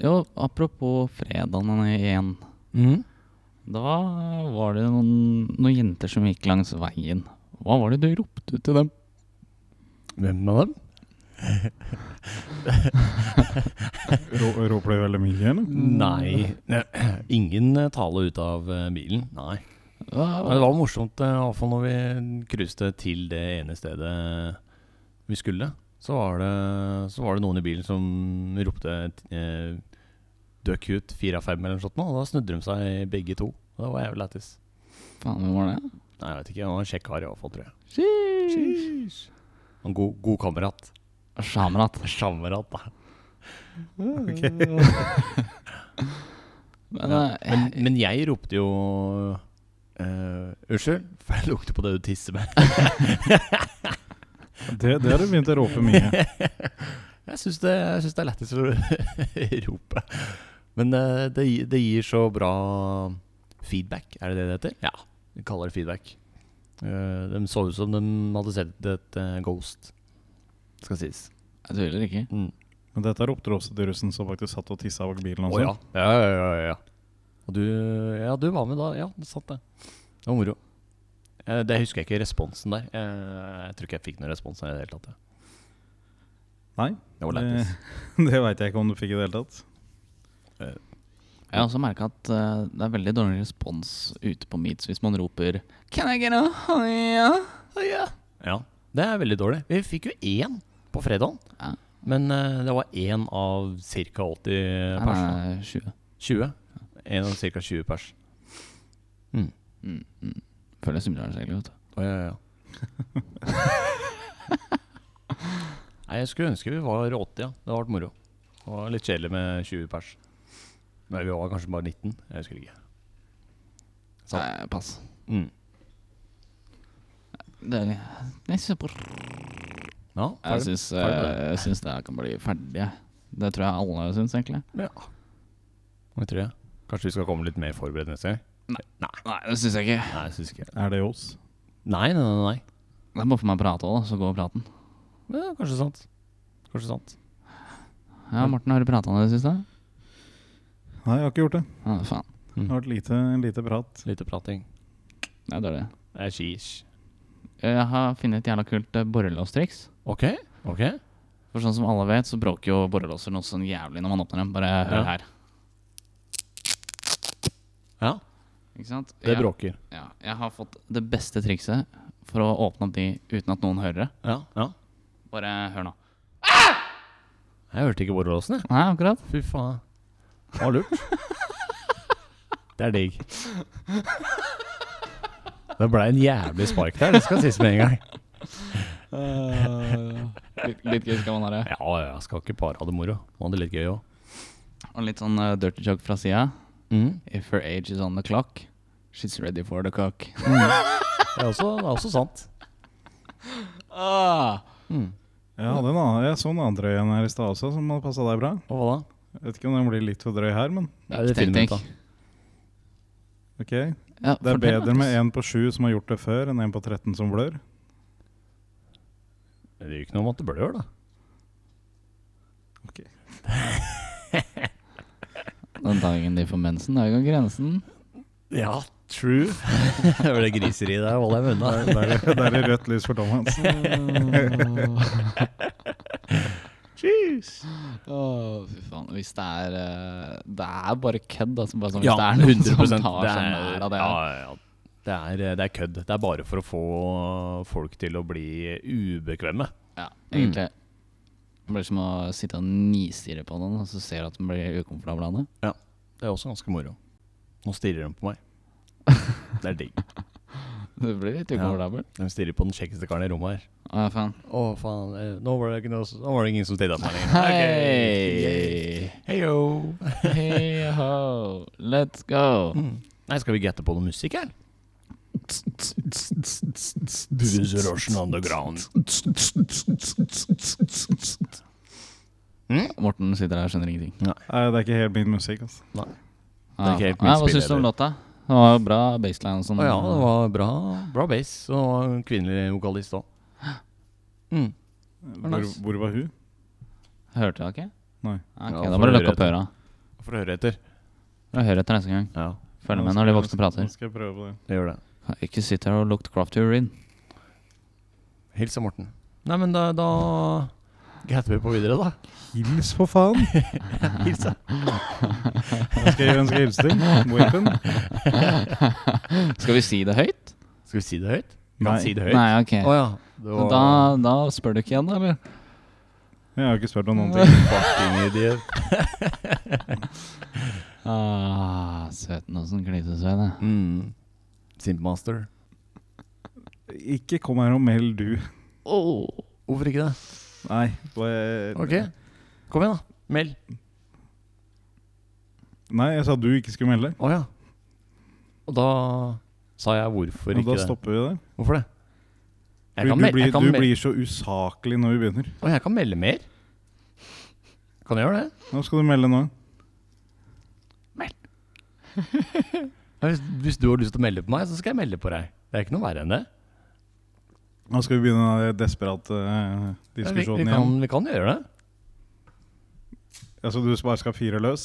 Speaker 1: Jo, apropos fredagen igjen.
Speaker 2: Mhm.
Speaker 1: Da var det noen, noen jenter som gikk langs veien. Hva var det du ropte til dem?
Speaker 2: Hvem av dem?
Speaker 3: Ro, roper du veldig mye, eller?
Speaker 2: Nei. Ingen eh, tale ut av eh, bilen. Nei. Men det
Speaker 1: Hva,
Speaker 2: var morsomt, eh, i hvert fall når vi cruiset til det ene stedet vi skulle. Så var det, så var det noen i bilen som ropte eh, 'Du er cute', fire av fem, eller noe sånt. nå, Og da snudde de seg begge to. Og det var jævlig lættis.
Speaker 1: faen, hvem var det?
Speaker 2: Nei, jeg vet ikke. Han var en kjekk kar, i hvert fall, tror jeg.
Speaker 1: Sheesh.
Speaker 2: En god, god kamerat.
Speaker 1: Shamrat.
Speaker 2: Kamerat, da.
Speaker 1: Men,
Speaker 2: Ja.
Speaker 1: eh,
Speaker 2: Men, men jeg ropte jo eh, 'Unnskyld, <laughs> for jeg lukter på det du tisser med'.
Speaker 3: Det, det har du begynt å rope
Speaker 2: <laughs>
Speaker 3: mye.
Speaker 2: Jeg syns det, jeg synes det er lettest <laughs> å rope. Men eh, det, gi- det gir så bra feedback, er det det det heter? Ja, vi kaller det feedback. Eh, de så ut som de hadde sett et eh, ghost, skal sies.
Speaker 1: jeg tviler ikke.
Speaker 2: Mm.
Speaker 3: Men Men dette er oppdråsdyrussen som faktisk satt og tissa bak bilen.
Speaker 2: Å
Speaker 3: Også.
Speaker 2: ja. Ja, ja, ja, ja, ja. Og du, ja, du var med da. Ja, det satt det. Det var moro. Eh, Det husker jeg ikke responsen der. Eh, Jeg tror ikke jeg fikk noen respons i det hele tatt. jeg.
Speaker 3: Nei,
Speaker 2: Det var
Speaker 3: det,
Speaker 2: lættis.
Speaker 3: det <laughs> veit jeg ikke om du fikk i det hele tatt.
Speaker 1: Jeg har også merka at eh, det er veldig dårlig respons ute på meets hvis man roper Can I get a honey? yeah?"
Speaker 2: Ja, det er veldig dårlig. Vi fikk jo én på fredagen.
Speaker 1: Ja.
Speaker 2: Men eh, det var én av ca. 80
Speaker 1: Nei,
Speaker 2: pers. da.
Speaker 1: nei, 20.
Speaker 2: 20. En av ca. 20 pers.
Speaker 1: Mm, mm. Føler jeg summerer seg egentlig, vet du.
Speaker 2: Å, ja, ja, ja. <laughs> Nei, jeg skulle ønske vi var 80, ja. Det hadde vært moro. Det var litt kjedelig med 20 pers. Men vi var kanskje bare 19. Jeg husker ikke. Sant.
Speaker 1: Nei, pass.
Speaker 2: Mm.
Speaker 1: Det er Jeg syns
Speaker 2: Ja,
Speaker 1: Jeg
Speaker 2: ferdig.
Speaker 1: syns, eh,
Speaker 2: Ferdig med det.
Speaker 1: jeg syns det her kan bli ferdig. jeg. Det tror jeg alle syns, egentlig.
Speaker 2: ja. Jeg tror jeg. Kanskje vi skal komme litt mer forberedt neste gang?
Speaker 1: Nei, det syns jeg ikke.
Speaker 2: Nei, jeg synes ikke
Speaker 3: Er det oss?
Speaker 2: Nei, nei, nei. nei.
Speaker 1: Det må få meg prate òg, så går praten.
Speaker 2: Men Ja, kanskje sant. Kanskje sant.
Speaker 1: Ja, Morten, har du prata om det i det siste?
Speaker 3: Nei, jeg har ikke gjort det.
Speaker 1: Ja, faen.
Speaker 3: Det har vært lite, lite prat.
Speaker 2: Lite prating.
Speaker 1: Det er dårlig. Eh,
Speaker 2: Jeg er sheesh.
Speaker 1: Jeg har funnet et jævla kult eh, borrelåstriks.
Speaker 2: Ok, ok.
Speaker 1: For sånn som alle vet, så bråker jo borrelåser noe sånn jævlig når man åpner dem. Bare hør
Speaker 2: Ja.
Speaker 1: her.
Speaker 2: Ja,
Speaker 1: Ikke sant?
Speaker 2: det
Speaker 1: Jeg-
Speaker 2: bråker.
Speaker 1: Ja, jeg har fått det beste trikset for å åpne opp de uten at noen hører det.
Speaker 2: Ja, ja.
Speaker 1: Bare hør nå.
Speaker 2: Jeg hørte ikke borrelåsen, jeg.
Speaker 1: Nei, akkurat.
Speaker 2: Fy faen. Det var <laughs> lurt. Det er digg. Det ble en jævlig spark der, det skal sies med en gang.
Speaker 1: Litt, litt gøy skal man ha det.
Speaker 2: Ja, jeg skal ikke bare ha det moro. Man hadde litt gøy òg.
Speaker 1: Og litt sånn eh, dirty joke fra sida.
Speaker 2: Mm.
Speaker 1: If her age is on the clock, she's ready for the cock.
Speaker 2: Det, er også- det er også sant.
Speaker 1: Ah.
Speaker 3: Jeg, hadde en annen, jeg så en annen drøy en her i stad også, som hadde passa deg bra.
Speaker 2: Og hva da?
Speaker 3: Vet ikke om den blir litt for drøy her, men
Speaker 2: Nei, det finner vi ut av.
Speaker 3: ok. Det er bedre med en på sju som har gjort det før, enn en på 13 som blør. <laughs>
Speaker 2: Det gjør ikke noe om at det blør, da.
Speaker 1: Den dagen de får mensen, er jo grensen.
Speaker 2: Ja, true. <laughs> det var det griseriet der, holder jeg meg unna.
Speaker 3: Det er, det er rødt lys for
Speaker 2: <laughs>
Speaker 3: Thomas.
Speaker 2: Jeez.
Speaker 1: Åh, fy faen. Hvis det er eh, Det er bare kødd, altså. Bare sånn,
Speaker 2: Ja,
Speaker 1: hvis det er noen
Speaker 2: 100
Speaker 1: som tar
Speaker 2: det
Speaker 1: seg
Speaker 2: er-
Speaker 1: nær av det.
Speaker 2: Ja, ja, ja. Det er, det er kødd. Det er bare for å få folk til å bli ubekvemme.
Speaker 1: Ja, egentlig.
Speaker 2: Mm.
Speaker 1: Det blir som å sitte og nistirre på noen, og så ser du at den blir ukomfortabel av det. <laughs>
Speaker 2: Det er også ganske moro. Nå stirrer de på meg. Det er digg.
Speaker 1: Det blir litt ukomfortabel.
Speaker 2: De stirrer på den kjekkeste karen i rommet her.
Speaker 1: Å, ja, faen.
Speaker 2: Å, faen. eh, Nå var det, ikke noe, nå var det ingen som stirra på meg lenger.
Speaker 1: Hei!
Speaker 2: Heyo.
Speaker 1: Hei ho! Let's go!
Speaker 2: Nei, skal vi gjette på noe musikk her? Bruce Russian Underground.
Speaker 1: Morten sitter der og skjønner ingenting.
Speaker 3: Nei, det er ikke helt min musikk. Altså.
Speaker 2: Nei.
Speaker 1: Ja,
Speaker 2: ikke
Speaker 1: ja,
Speaker 2: helt mitt
Speaker 1: hva
Speaker 2: spill
Speaker 1: syns du om
Speaker 2: heller.
Speaker 1: låta? Det var jo bra baseline og sånn.
Speaker 2: Å ja, det var bra, bra bass. Og en kvinnelig vokalist òg. Mm.
Speaker 3: Hvor, hvor var hun?
Speaker 1: Hørte du det ikke?
Speaker 3: Nei.
Speaker 1: Ok,
Speaker 2: Ja,
Speaker 1: da
Speaker 2: får
Speaker 1: må du
Speaker 2: du
Speaker 1: lukke opp
Speaker 2: høre
Speaker 1: øra.
Speaker 2: For å høre etter.
Speaker 1: Får du høre etter neste gang.
Speaker 2: Ja,
Speaker 1: Følg
Speaker 3: Nå
Speaker 1: med
Speaker 3: skal
Speaker 1: når de
Speaker 3: jeg-
Speaker 1: voksne prater.
Speaker 3: nå Skal jeg prøve på det.
Speaker 2: det gjør det.
Speaker 1: Ikke sitt her og lukt craft urin.
Speaker 2: Hils av Morten. Nei, men da, da getter vi på videre, da.
Speaker 3: Hils, for faen!
Speaker 2: <laughs> Hils, da.
Speaker 3: Skal jeg ønske
Speaker 2: <laughs>
Speaker 3: hilsning? Weapon?
Speaker 1: Skal vi si det høyt?
Speaker 2: Skal vi si det høyt? Kan
Speaker 3: Nei.
Speaker 2: vi si det høyt?
Speaker 1: Nei, ok.
Speaker 2: Å ja. Det var
Speaker 1: Da, da spør du ikke igjen, da, eller?
Speaker 3: Jeg har ikke spurt om noen ting.
Speaker 2: fucking idiot.
Speaker 1: Ah, Søten åssen glites ved det.
Speaker 2: Mm. Simpmaster.
Speaker 3: <laughs> Ikke kom her og meld du.
Speaker 2: Hvorfor ikke det?
Speaker 3: Nei. bare-
Speaker 2: Ok. Kom igjen, da. Meld.
Speaker 3: Nei, jeg sa du ikke skulle melde.
Speaker 2: Å ja. Og da sa jeg hvorfor
Speaker 3: Og
Speaker 2: ikke
Speaker 3: da
Speaker 2: det.
Speaker 3: stopper vi der.
Speaker 2: Hvorfor det?
Speaker 3: Du,
Speaker 2: Jeg kan,
Speaker 3: du,
Speaker 2: mel
Speaker 3: blir,
Speaker 2: jeg, kan
Speaker 3: du
Speaker 2: mel
Speaker 3: blir så usaklig når vi begynner.
Speaker 2: Å, jeg kan melde mer. Kan jeg gjøre det?
Speaker 3: Nå skal du melde nå.
Speaker 2: Ja, Hvis, hvis du har lyst til å melde på meg, så skal jeg melde på deg. Det er ikke noe verre enn det.
Speaker 3: Nå skal vi begynne den der desperate eh,
Speaker 2: Ja, vi, vi,
Speaker 3: diskusjonen
Speaker 2: kan,
Speaker 3: igjen.
Speaker 2: vi kan jo gjøre det.
Speaker 3: Ja, så du bare skal fyre løs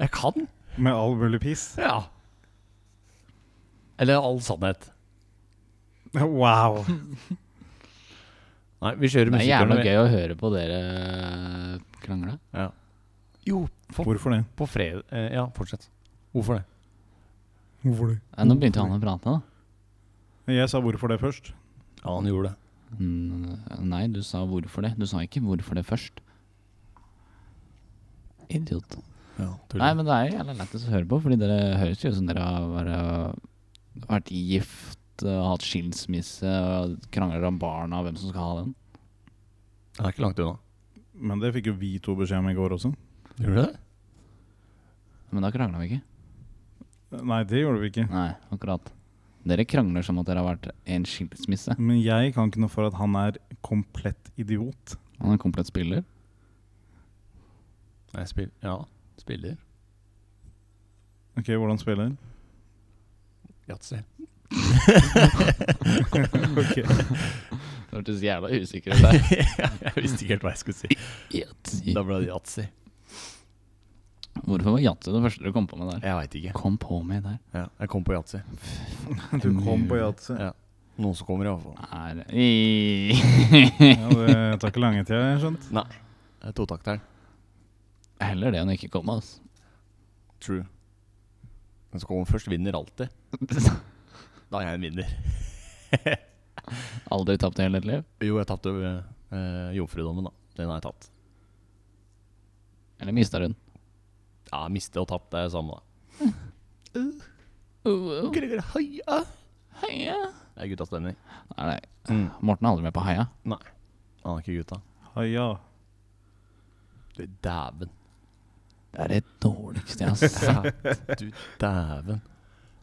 Speaker 2: Jeg kan.
Speaker 3: med all mulig piss?
Speaker 2: Ja. Eller all sannhet.
Speaker 3: <laughs> Wow!
Speaker 2: Nei, vi kjører
Speaker 1: Det er
Speaker 2: musikkerne.
Speaker 1: jævla
Speaker 2: vi-
Speaker 1: gøy å høre på dere krangle.
Speaker 2: Ja. Jo, for,
Speaker 3: Hvorfor det?
Speaker 2: på fredag eh, Ja, fortsett. Hvorfor det?
Speaker 3: Hvorfor det?
Speaker 1: Nei, Eh, Nå begynte han å prate, da.
Speaker 3: Jeg sa hvorfor det først.
Speaker 2: Ja, han gjorde det.
Speaker 1: Mm, Nei, du sa hvorfor det. Du sa ikke hvorfor det først. Idiot.
Speaker 2: Ja,
Speaker 1: Nei, men det er jo jævla lættis å høre på, fordi dere høres jo ut som dere har vært, eh, vært gift og hatt skilsmisse og krangler om barna og hvem som skal ha den.
Speaker 2: Det er ikke langt unna.
Speaker 3: Men det fikk jo vi to beskjed om i går også.
Speaker 2: Gjorde du det?
Speaker 1: Men da krangla vi ikke.
Speaker 3: Nei, det gjorde vi ikke.
Speaker 1: Nei, akkurat. Dere krangler som at dere har vært i en skilsmisse.
Speaker 3: Men jeg kan ikke noe for at han er komplett idiot.
Speaker 1: Han er en komplett spiller.
Speaker 2: Nei, spill, ja, spiller.
Speaker 3: Ok, Hvordan spiller?
Speaker 2: <laughs> Yatzy.
Speaker 3: Ok.
Speaker 1: <laughs> Det hørtes jævla usikker ut der.
Speaker 2: <laughs> jeg visste ikke helt hva jeg skulle si.
Speaker 1: Yatzy.
Speaker 2: Da ble det yatzy.
Speaker 1: Hvorfor var yatzy det første du kom på med der?
Speaker 2: Jeg veit ikke.
Speaker 1: Kom på med der.
Speaker 2: Ja, jeg kom på yatzy.
Speaker 3: <laughs> Du kom på yatzy.
Speaker 2: Ja. Noen som kommer, iallfall.
Speaker 1: Er
Speaker 3: Ja, det tar ikke lange tida, jeg har skjønt.
Speaker 2: Nei. Det er Totakteren.
Speaker 1: <laughs> Heller det enn å ikke komme, altså.
Speaker 2: True. Den som kommer først, vinner alltid. Da er jeg en vinner.
Speaker 1: Aldri tapt i hele ditt liv.
Speaker 2: Jo, jeg tapte eh, jomfrudommen, da. Den har jeg tatt.
Speaker 1: Eller mista hun.
Speaker 2: Ja, miste og tapt det er samme, da.
Speaker 1: Uh,
Speaker 2: Gregor Heia!
Speaker 1: heia.
Speaker 2: Det er guttas stemning.
Speaker 1: Nei, nei. Morten er aldri med på heia.
Speaker 2: Nei, han er ikke gutta.
Speaker 3: Haja.
Speaker 2: Du dæven.
Speaker 1: Det er det dårligste jeg har sett.
Speaker 2: Du dæven.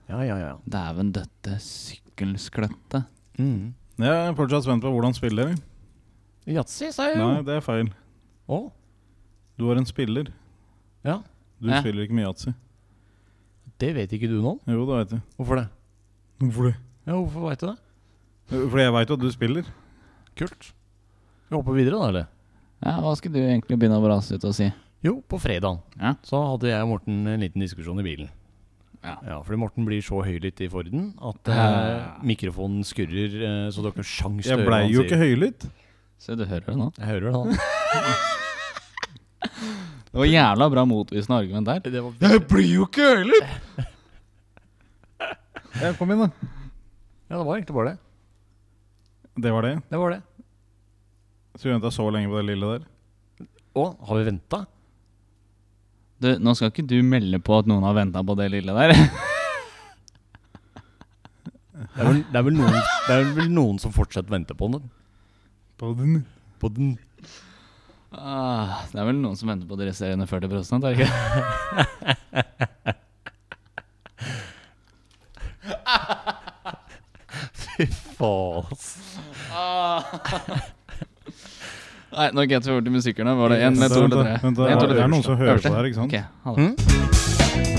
Speaker 2: Ja, ja, ja.
Speaker 1: <laughs> Dæven døtte sykkelsklettet.
Speaker 2: Mm.
Speaker 3: Jeg er fortsatt spent på hvordan spiller.
Speaker 2: Yatzy, sa jeg jo.
Speaker 3: Nei, det er feil.
Speaker 2: Å?
Speaker 3: Du er en spiller.
Speaker 2: Ja.
Speaker 3: Du
Speaker 1: Hæ?
Speaker 3: spiller ikke mye yatzy.
Speaker 2: Det vet ikke du noe om.
Speaker 3: Jo, det veit jeg.
Speaker 2: Hvorfor det?
Speaker 3: Hvorfor det?
Speaker 2: Ja, hvorfor veit du det?
Speaker 3: Fordi jeg veit jo at du spiller.
Speaker 2: Kult. Vi hopper videre, da, eller?
Speaker 1: Ja, hva skulle du egentlig begynne å brase ut og si?
Speaker 2: Jo, på fredagen
Speaker 1: Ja.
Speaker 2: så hadde jeg og Morten en liten diskusjon i bilen.
Speaker 1: Ja.
Speaker 2: fordi Morten blir så høylytt i Forden at eh,
Speaker 1: Ja.
Speaker 2: mikrofonen skurrer, eh, så du har ikke sjans til å
Speaker 3: Jeg
Speaker 2: høre hva
Speaker 3: blei
Speaker 2: han
Speaker 3: jo
Speaker 2: sier.
Speaker 3: ikke høylytt.
Speaker 1: Se, du hører det nå.
Speaker 2: Jeg hører det, da.
Speaker 1: Det var jævla bra motvisende argument der.
Speaker 2: Det var
Speaker 1: Jeg blir jo ikke høylytt!
Speaker 3: Ja, kom inn, da.
Speaker 2: Ja, det var egentlig bare det.
Speaker 3: Det var det.
Speaker 2: Det var det.
Speaker 3: Så vi venta så lenge på det lille der.
Speaker 2: Å, har vi venta?
Speaker 1: Du, nå skal ikke du melde på at noen har venta på det lille der. <laughs>
Speaker 2: Det er, vel, det, er vel noen, det er vel noen som fortsatt venter på den.
Speaker 3: På den.
Speaker 2: På den.
Speaker 1: Ah, det er vel noen som venter på de resterende 40 er det ikke?
Speaker 3: <laughs>
Speaker 2: Fy faen, ass.
Speaker 3: Ah.
Speaker 1: <laughs> Nei, nå gikk jeg over til musikkerne. Var det én med to
Speaker 3: Vent da,
Speaker 1: eller tre?
Speaker 3: vent da,
Speaker 1: En, to eller
Speaker 3: Det
Speaker 1: tre?
Speaker 3: er noen som hører
Speaker 1: Øverste.
Speaker 3: på der, ikke sant?
Speaker 1: Ok, ha det.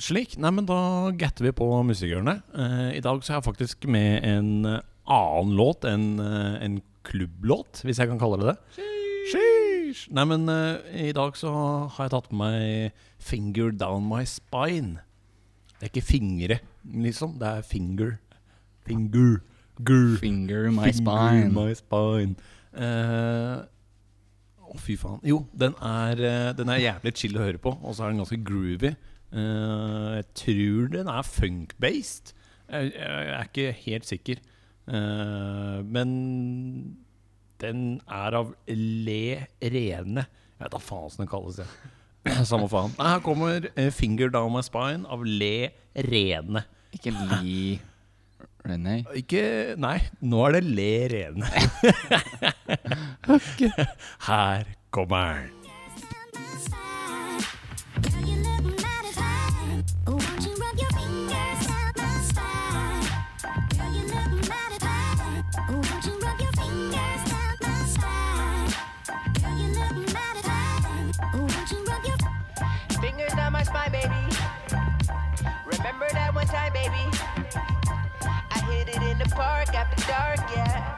Speaker 2: Slik. Nei, men da gatter vi på musikerne. Eh, I dag så er jeg faktisk med en eh, annen låt enn eh, en klubblåt, hvis jeg kan kalle det det. Sheesh. Nei, men eh, i dag så har jeg tatt på meg 'Finger Down My Spine'. Det er ikke fingre, liksom. Det er finger. Finger. Gur.
Speaker 1: Finger my
Speaker 2: Finger
Speaker 1: spine.
Speaker 2: My spine. Eh, Å, fy faen. Jo, den er, eh, den er jævlig chill å høre på, og så er den ganske groovy. Eh, jeg tror den er funk-based. Jeg, jeg, jeg er ikke helt sikker. Eh, men den er av le rene Jeg vet da faen åssen den kalles, jeg. <clears throat> Samme faen. Nei, her kommer eh, 'Finger Down My Spine' av le rene.
Speaker 1: Ikke li René.
Speaker 2: Ikke Nei, nå er det le rene. <laughs> Her kommer den.
Speaker 4: Girl, you look mighty Oh, won't you rub your fingers down my spine? Girl, you look mighty Oh, won't you rub your fingers down my spine? Girl, you look mighty Oh, won't you rub your
Speaker 5: Fingers down my spine, baby. Remember that one time, baby. I hit it in the park, I out the dark, yeah.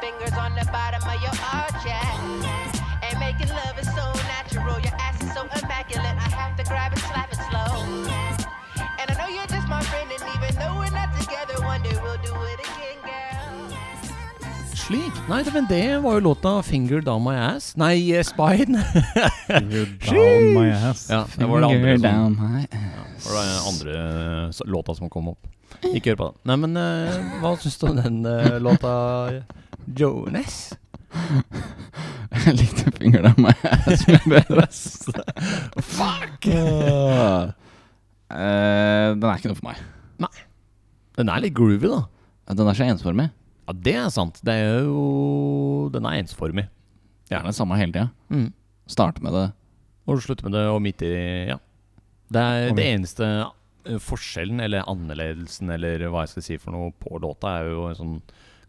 Speaker 5: Fingers on the bottom of your arch, yeah. And making love is so natural. Your ass is so immaculate. I have to grab and slap it slow. And I know you're just my friend, and even though we're not together, one day we'll do it again, girl.
Speaker 2: Slik? Nei, det- men det var jo låta 'Finger Down My Ass'. Nei, eh, 'Spine'.
Speaker 3: <laughs> Down my ass.
Speaker 2: ja, det var det andre
Speaker 1: Finger
Speaker 2: som,
Speaker 1: down my <laughs>
Speaker 2: det var den andre eh, s- låta som kom opp. Ikke hør på den. Nei, men eh, hva syns du om den eh, låta, Jonas?
Speaker 1: Jeg likte fingeren av meg
Speaker 2: <laughs>
Speaker 1: ass mye bedre. ass.
Speaker 2: Fuck!
Speaker 1: Eh, den er ikke noe for meg.
Speaker 2: Den er litt groovy, da.
Speaker 1: Den er så ensformig.
Speaker 2: Ja, det er sant. Det er jo Den er ensformig.
Speaker 1: Det er det samme hele tida.
Speaker 2: Mm.
Speaker 1: Starte med det.
Speaker 2: Og du slutter med det, og midt i Ja. Det er
Speaker 3: Og
Speaker 2: det eneste eh, forskjellen, eller annerledelsen, eller hva jeg skal si for noe på låta, er jo en sånn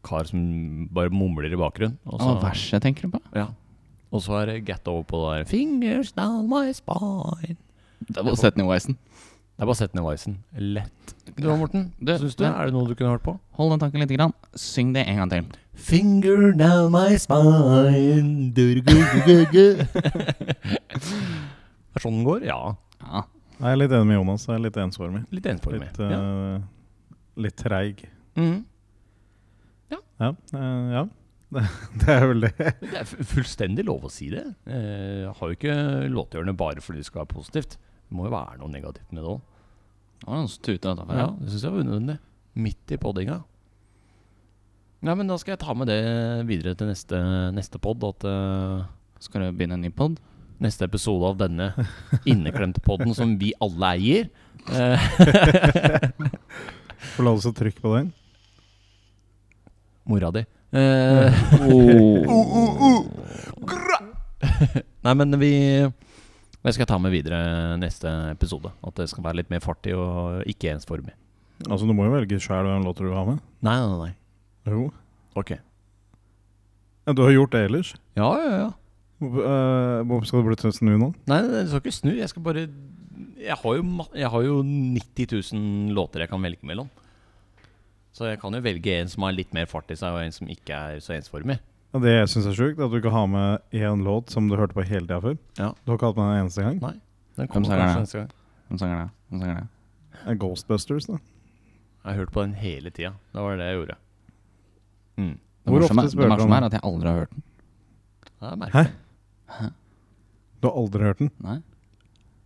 Speaker 2: kar som bare mumler i bakgrunnen. Og
Speaker 1: Hva verset tenker du på?
Speaker 2: ja. og så er det get over på det der Fingers down my spine.
Speaker 1: Det var Setney Wisen.
Speaker 2: Det er bare å sette ned voicen. Lett. Du da, Morten?
Speaker 1: Du,
Speaker 2: Syns du?
Speaker 1: men-
Speaker 2: Er det noe du kunne hørt på?
Speaker 1: Hold den tanken lite grann. Syng det en gang til.
Speaker 2: Finger down my spine <laughs> Dur-gu-gu-gu-gu. Er sånn den går? Ja.
Speaker 1: Ja.
Speaker 3: Jeg er litt enig med Jonas. Jeg er litt ensformig.
Speaker 2: Litt ensformig.
Speaker 3: Litt, eh,
Speaker 2: ja.
Speaker 3: litt treig.
Speaker 2: Mhm.
Speaker 3: Ja. eh, ja. <laughs> Det er vel det.
Speaker 2: Men Det er fu- fullstendig lov å si det. Eh, Jeg har jo ikke låtgjørende bare fordi det skal være positivt. Det må jo være noe negativt med det òg.
Speaker 1: Det var noen som tuta utenfor
Speaker 2: Ja,
Speaker 1: her.
Speaker 2: det syns jeg var unødvendig. Midt i poddinga. Ja, men da skal jeg ta med det videre til neste, neste pod. At eh,
Speaker 1: Skal du begynne en ny pod?
Speaker 2: neste episode av denne inneklemte podden som vi alle eier eh,
Speaker 3: Får lov til å trykke på den.
Speaker 2: Mora di. Eh, <laughs> oh. Nei, men vi Jeg skal ta med videre neste episode. At det skal være litt mer fart i og ikke ensformig.
Speaker 3: Altså, du må jo velge sjæl hvem låter du vil ha med.
Speaker 2: Nei, nei, nei.
Speaker 3: Jo.
Speaker 2: Ok.
Speaker 3: Ja, du har gjort det ellers.
Speaker 2: Ja, ja, ja.
Speaker 3: Hvor- eh, Hvorfor skal du bli tøst nå?
Speaker 2: Nei, nei, du skal ikke snu. Jeg skal bare jeg har, jo, ma- jeg har jo 90 000 låter jeg kan velge mellom. Så jeg kan jo velge en som har litt mer fart i seg, og en som ikke er så ensformig.
Speaker 3: Ja, det jeg syns er sjukt, er at du ikke har med én låt som du hørte på hele tida før.
Speaker 2: Ja.
Speaker 3: Du har ikke hatt med den en eneste gang.
Speaker 2: Nei.
Speaker 1: Hvem
Speaker 2: Den kommer
Speaker 1: sanger
Speaker 2: kanskje
Speaker 1: det?
Speaker 2: neste gang.
Speaker 1: Hvem sanger det? Hvem sanger det?
Speaker 3: Det er Eh, Ghostbusters, da.
Speaker 2: Jeg har hørt på den hele tida. Det var det jeg gjorde. Mm.
Speaker 1: Det
Speaker 3: Hvor
Speaker 1: morsomme
Speaker 3: ofte
Speaker 1: det
Speaker 3: spør du om
Speaker 1: morsomme er at
Speaker 3: det?
Speaker 1: jeg aldri har hørt den.
Speaker 2: Det er merkelig.
Speaker 3: Hæ? Du har aldri hørt den?
Speaker 1: Nei.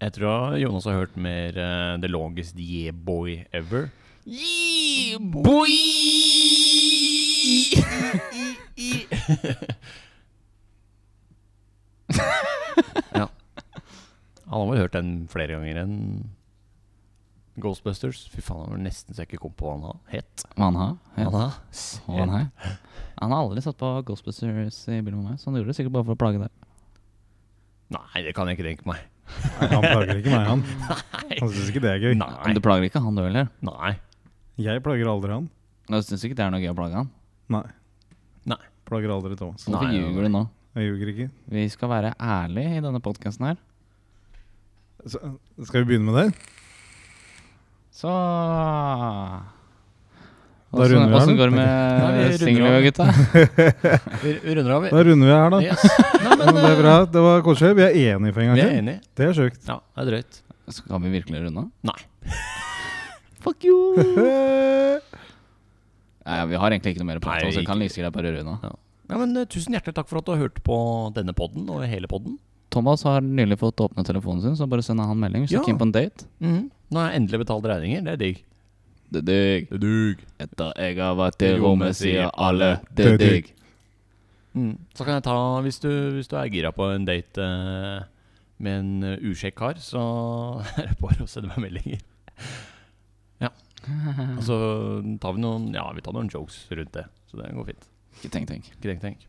Speaker 2: Jeg tror Jonas har hørt mer eh, The Longest Yeah Boy Ever. Yeah boy! ja. Han har vel hørt den flere ganger enn Ghostbusters. Fy faen, han var nesten så jeg ikke kom på hva han har- het.
Speaker 1: Hva han har?
Speaker 2: Han har
Speaker 1: Og han her. Han har aldri satt på Ghostbusters i bilen med meg, så han gjorde det sikkert bare for å plage deg.
Speaker 2: Nei, det kan jeg ikke tenke meg.
Speaker 3: Nei, han plager ikke meg, <laughs> han. Han syns ikke det er gøy.
Speaker 1: Men
Speaker 2: Nei.
Speaker 1: du plager ikke han du heller.
Speaker 2: Nei.
Speaker 3: Jeg plager aldri han.
Speaker 1: Jeg syns ikke det er noe gøy å plage han.
Speaker 3: Nei.
Speaker 2: Nei.
Speaker 3: Plager aldri Thomas.
Speaker 2: Nei,
Speaker 1: Hvorfor
Speaker 2: nei,
Speaker 1: ljuger du nå?
Speaker 3: Jeg ljuger ikke.
Speaker 1: Vi skal være ærlige i denne podkasten her.
Speaker 3: Så, skal vi begynne med det?
Speaker 2: Eh,
Speaker 1: Så
Speaker 3: Da runder vi her,
Speaker 1: Åssen
Speaker 3: da.
Speaker 1: går det
Speaker 2: Nei, vi
Speaker 1: med
Speaker 2: runder
Speaker 1: singellivet, gutta?
Speaker 2: Vi vi runder av, vi.
Speaker 3: Da runder vi her, da.
Speaker 2: Yes. Nei,
Speaker 3: <laughs>
Speaker 2: men,
Speaker 3: Det er bra. Det var koselig. Vi er enige for
Speaker 2: eh,
Speaker 3: en gang
Speaker 2: vi er
Speaker 3: til.
Speaker 2: enige.
Speaker 3: Det er sjukt. <laughs>
Speaker 2: Ja, det er drøyt.
Speaker 1: Skal vi virkelig runde?
Speaker 2: Nei.
Speaker 1: Fuck you!
Speaker 3: Ha
Speaker 1: Nei, vi har egentlig ikke noe mer å prate
Speaker 2: Nei,
Speaker 1: om, så vi kan
Speaker 2: ikke-
Speaker 1: like gjerne bare runde.
Speaker 2: Ja, men eh, Tusen hjertelig takk for at du har hørt på denne podden og hele podden.
Speaker 1: Thomas har nylig fått åpne telefonen sin, så bare send han melding hvis
Speaker 2: Ja.
Speaker 1: du er keen på en date.
Speaker 2: Nå har jeg endelig betalt regninger. Det er digg.
Speaker 1: Det digg.
Speaker 2: Det dug.
Speaker 1: Etter jeg har vært i
Speaker 2: I rommet,
Speaker 1: rommet, sier alle det
Speaker 3: Det digg.
Speaker 1: digg.
Speaker 2: Mm. Så kan jeg ta, hvis du, hvis du er gira på en date eh, med en eh, uskjekk kar, så <laughs> er det bare å sende meg meldinger. Ja. Og så tar vi noen Ja, vi tar noen jokes rundt det. Så det går fint.
Speaker 1: Ikke tenk, tenk.
Speaker 2: Ikke tenk, tenk.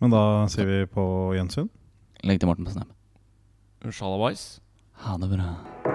Speaker 3: Men da sier vi på gjensyn.
Speaker 1: Legg til Morten på Snap.
Speaker 2: Shalabais.
Speaker 1: Ha det bra.